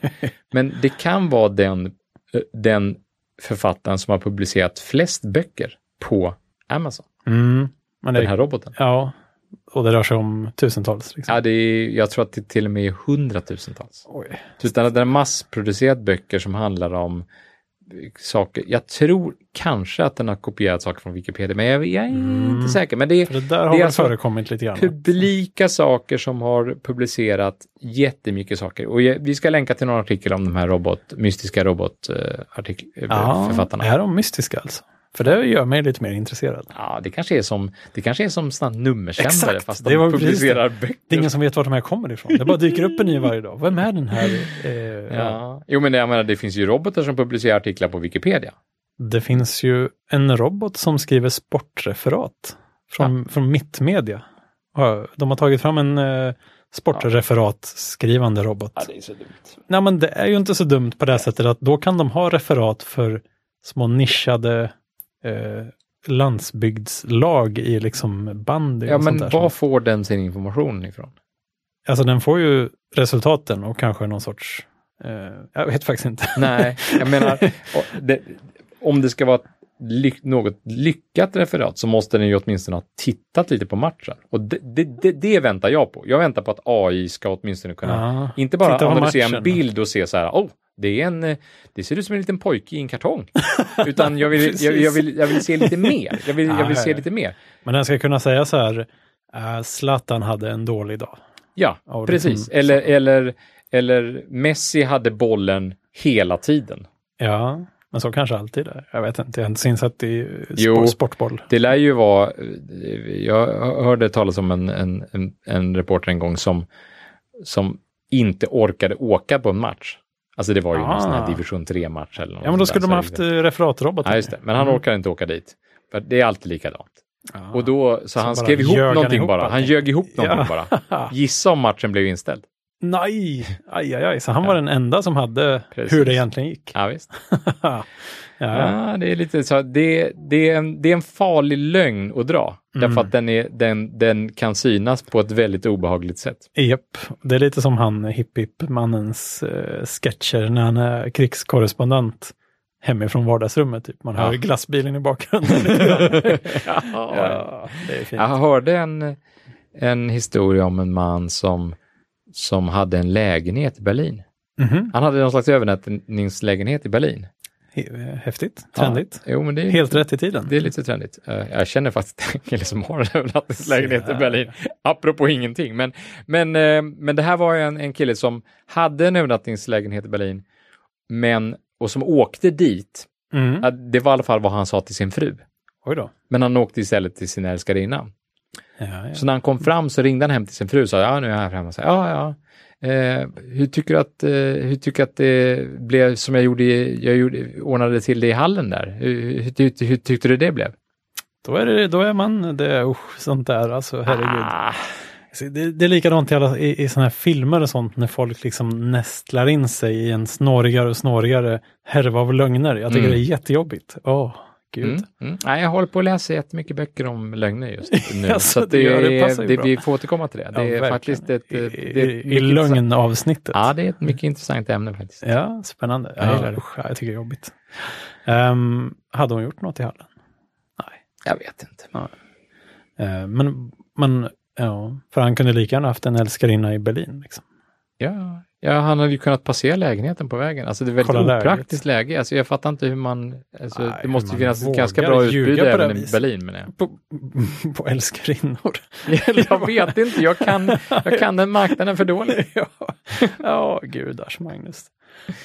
[SPEAKER 1] Men det kan vara den, eh, den författaren som har publicerat flest böcker på Amazon,
[SPEAKER 2] Mm. Men
[SPEAKER 1] den
[SPEAKER 2] det,
[SPEAKER 1] här roboten.
[SPEAKER 2] ja, och det rör sig om tusentals. Liksom.
[SPEAKER 1] Ja, det är, jag tror att det till och med är hundratusentals.
[SPEAKER 2] Oj.
[SPEAKER 1] Utan att den har massproducerat böcker som handlar om eh, saker. Jag tror kanske att den har kopierat saker från Wikipedia, men jag, jag är
[SPEAKER 2] Mm.
[SPEAKER 1] inte säker. Men det är,
[SPEAKER 2] För det där
[SPEAKER 1] Det
[SPEAKER 2] har
[SPEAKER 1] är
[SPEAKER 2] väl
[SPEAKER 1] alltså
[SPEAKER 2] förekommit lite grann.
[SPEAKER 1] publika saker som har publicerat jättemycket saker. Och jag, vi ska länka till någon artikel om de här robot, mystiska eh,
[SPEAKER 2] Ja,
[SPEAKER 1] robotförfattarna.
[SPEAKER 2] är de mystiska alltså? För det gör mig lite mer intresserad.
[SPEAKER 1] Ja, det kanske är som, det kanske är som såna här nummersändare
[SPEAKER 2] Exakt,
[SPEAKER 1] fast
[SPEAKER 2] det
[SPEAKER 1] de
[SPEAKER 2] var precis
[SPEAKER 1] publicerar böcker.
[SPEAKER 2] Det är ingen som vet var de här kommer ifrån. Det bara dyker upp en ny varje dag. Vem är den här? Eh, ja.
[SPEAKER 1] Ja. Jo, men det- jag menar, det finns ju robotar som publicerar artiklar på Wikipedia.
[SPEAKER 2] Det finns ju en robot som skriver sportreferat från, från Mittmedia. Ja, De har tagit fram en eh, sportreferatskrivande robot.
[SPEAKER 1] det är så dumt.
[SPEAKER 2] Nej, men det är ju inte så dumt på det här sättet att då kan de ha referat för små nischade eh, landsbygdslag i liksom bandy
[SPEAKER 1] Ja,
[SPEAKER 2] och
[SPEAKER 1] men
[SPEAKER 2] sånt där.
[SPEAKER 1] var får den sin information ifrån?
[SPEAKER 2] Alltså den får ju resultaten och kanske någon sorts, eh, jag vet faktiskt inte.
[SPEAKER 1] Nej, jag menar, och det, om det ska vara ett ly något lyckat referat så måste den ju åtminstone ha tittat lite på matchen. Och det, det, det, det väntar jag på. Jag väntar på att AI ska åtminstone kunna,
[SPEAKER 2] Ja.
[SPEAKER 1] inte bara
[SPEAKER 2] Titta på
[SPEAKER 1] analysera en
[SPEAKER 2] matchen.
[SPEAKER 1] bild och se så här, oh, det, är en, eh, det ser ut som en liten pojke i en kartong. Utan jag vill, jag, jag, vill, jag vill se lite mer. Jag vill, jag vill
[SPEAKER 2] Ja, ja,
[SPEAKER 1] se
[SPEAKER 2] ja.
[SPEAKER 1] lite mer.
[SPEAKER 2] Men den ska kunna säga så här, eh, Zlatan hade en dålig dag. liksom
[SPEAKER 1] Ja,
[SPEAKER 2] Ja, det
[SPEAKER 1] precis.
[SPEAKER 2] kan-
[SPEAKER 1] Eller, eller, eller Messi hade bollen hela tiden.
[SPEAKER 2] Ja, men så kanske alltid är. Jag vet inte, jag har inte insett i eh,
[SPEAKER 1] Jo.
[SPEAKER 2] spo- sportboll.
[SPEAKER 1] Det lär ju vara, jag hörde talas om en, en, en, en reporter en gång som, som inte orkade åka på en match. Alltså det var ju någon
[SPEAKER 2] Ah.
[SPEAKER 1] sån här division 3-match eller något
[SPEAKER 2] Ja, men då
[SPEAKER 1] sånt
[SPEAKER 2] skulle
[SPEAKER 1] där,
[SPEAKER 2] de
[SPEAKER 1] så-
[SPEAKER 2] haft Mm. eh, referatrobotar.
[SPEAKER 1] Ja, just det. Men han orkade inte åka dit. För det är alltid likadant.
[SPEAKER 2] Ja.
[SPEAKER 1] Och då, så, han
[SPEAKER 2] Ah. bara
[SPEAKER 1] skrev ihop
[SPEAKER 2] ljög han
[SPEAKER 1] någonting
[SPEAKER 2] ihop
[SPEAKER 1] bara. Han
[SPEAKER 2] allting.
[SPEAKER 1] ljög ihop någonting bara. Gissa om matchen blev inställd.
[SPEAKER 2] Nej, aj, aj, aj. Så han var den enda som hade
[SPEAKER 1] Precis.
[SPEAKER 2] hur det egentligen gick.
[SPEAKER 1] Ja, visst.
[SPEAKER 2] ja.
[SPEAKER 1] Ja, det är lite så. Det, det, är en, det är en farlig lögn att dra.
[SPEAKER 2] Mm.
[SPEAKER 1] Därför att den, är, den, den kan synas på ett väldigt obehagligt sätt.
[SPEAKER 2] Japp, det är lite som han hipp-hipp-mannens eh, sketcher när han är krigskorrespondent hemifrån vardagsrummet. Typ. Man hör
[SPEAKER 1] Ja.
[SPEAKER 2] glassbilen i bakgrunden. lite grann. ja, det är fint.
[SPEAKER 1] Jag hörde en, en historia om en man som, som hade en lägenhet i Berlin.
[SPEAKER 2] Mhm.
[SPEAKER 1] Han hade någon slags övernattningslägenhet i Berlin.
[SPEAKER 2] He- Häftigt, trendigt.
[SPEAKER 1] Ja, jo, men det, är-
[SPEAKER 2] Helt rätt i tiden.
[SPEAKER 1] det är lite trendigt. Eh, Jag känner faktiskt en kille som har en övernattningslägenhet i Berlin, apropå ingenting. Men, men, eh, men det här var ju en, en kille som hade en övernattningslägenhet i Berlin, men, och som åkte dit.
[SPEAKER 2] Mm.
[SPEAKER 1] Ja, Det var i alla fall vad han sa till sin fru.
[SPEAKER 2] Oj då.
[SPEAKER 1] Men han åkte istället till sin älskarinna.
[SPEAKER 2] Ja, ja.
[SPEAKER 1] Så när han kom fram så ringde han hem till sin fru och sa, ja nu är jag här framme. Så, ja, ja. Eh, hur tycker du att, eh, hur tycker du att det blev som jag gjorde, i, jag gjorde, ordnade till det i hallen där? Hur, hur, hur, hur tyckte du det blev?
[SPEAKER 2] Då, är det, då är man det, usch, sånt där alltså, herregud.
[SPEAKER 1] Ah,
[SPEAKER 2] Så Det, det är likadant i, alla, i, i såna här filmer och sånt när folk liksom nästlar in sig i en snårigare och snårigare härva av lögner. Jag tycker
[SPEAKER 1] Mm.
[SPEAKER 2] det är jättejobbigt. Åh, gud.
[SPEAKER 1] mm, mm. Nej, jag håller på att läsa jättemycket böcker om lögner just nu.
[SPEAKER 2] Ja,
[SPEAKER 1] så
[SPEAKER 2] så
[SPEAKER 1] att det,
[SPEAKER 2] det gör- det
[SPEAKER 1] är,
[SPEAKER 2] passar
[SPEAKER 1] det,
[SPEAKER 2] ju bra.
[SPEAKER 1] vi får återkomma till det.
[SPEAKER 2] Ja,
[SPEAKER 1] Det är
[SPEAKER 2] verkligen.
[SPEAKER 1] faktiskt ett...
[SPEAKER 2] I,
[SPEAKER 1] eh,
[SPEAKER 2] i,
[SPEAKER 1] det är ett
[SPEAKER 2] i
[SPEAKER 1] mycket intressant-
[SPEAKER 2] lögnavsnittet.
[SPEAKER 1] Ja, det är ett mycket intressant ämne faktiskt.
[SPEAKER 2] Ja, spännande.
[SPEAKER 1] Jag gillar
[SPEAKER 2] Ja,
[SPEAKER 1] det.
[SPEAKER 2] usch, ja, jag tycker det är jobbigt. Ehm, hade hon gjort något i hallen?
[SPEAKER 1] Jag vet inte.
[SPEAKER 2] Ehm, men, men ja, för han kunde lika gärna haft en älskarinna i Berlin. Liksom.
[SPEAKER 1] Ja, ja, han hade ju kunnat passera lägenheten på vägen. Alltså det är väldigt
[SPEAKER 2] Kolla läget.
[SPEAKER 1] opraktiskt läge. Alltså jag fattar inte hur man... Alltså
[SPEAKER 2] Nej,
[SPEAKER 1] det
[SPEAKER 2] hur
[SPEAKER 1] måste ju
[SPEAKER 2] man
[SPEAKER 1] finnas ett
[SPEAKER 2] vågar
[SPEAKER 1] ganska bra
[SPEAKER 2] ljuga
[SPEAKER 1] utbud
[SPEAKER 2] på det här
[SPEAKER 1] även i
[SPEAKER 2] viset.
[SPEAKER 1] Berlin menar jag.
[SPEAKER 2] På, på älskarinnor.
[SPEAKER 1] jag vet inte, jag kan, jag kan den marknaden för dåligt.
[SPEAKER 2] ja, ja gudars Magnus.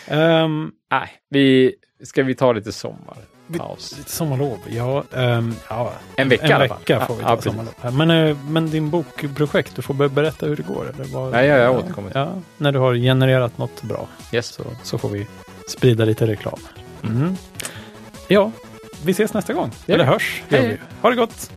[SPEAKER 2] Ehm,
[SPEAKER 1] Nej, vi, ska vi ta lite sommar? paus.
[SPEAKER 2] Lite sommarlov. Ja, ehm, ja,
[SPEAKER 1] En vecka i
[SPEAKER 2] en
[SPEAKER 1] alla fall.
[SPEAKER 2] vecka får vi
[SPEAKER 1] Ja, ja,
[SPEAKER 2] ta
[SPEAKER 1] precis.
[SPEAKER 2] sommarlov. här. Men, eh, men din bokprojekt, du får be- berätta hur det går. Eller vad,
[SPEAKER 1] Nej, jag, jag återkommer. till-
[SPEAKER 2] Ja, när du har genererat något bra
[SPEAKER 1] Yes.
[SPEAKER 2] så, så får vi sprida lite reklam. Mm. Ja, vi ses nästa gång.
[SPEAKER 1] gör
[SPEAKER 2] Eller
[SPEAKER 1] vi.
[SPEAKER 2] hörs. gör
[SPEAKER 1] Hej.
[SPEAKER 2] vi. Ha det gott!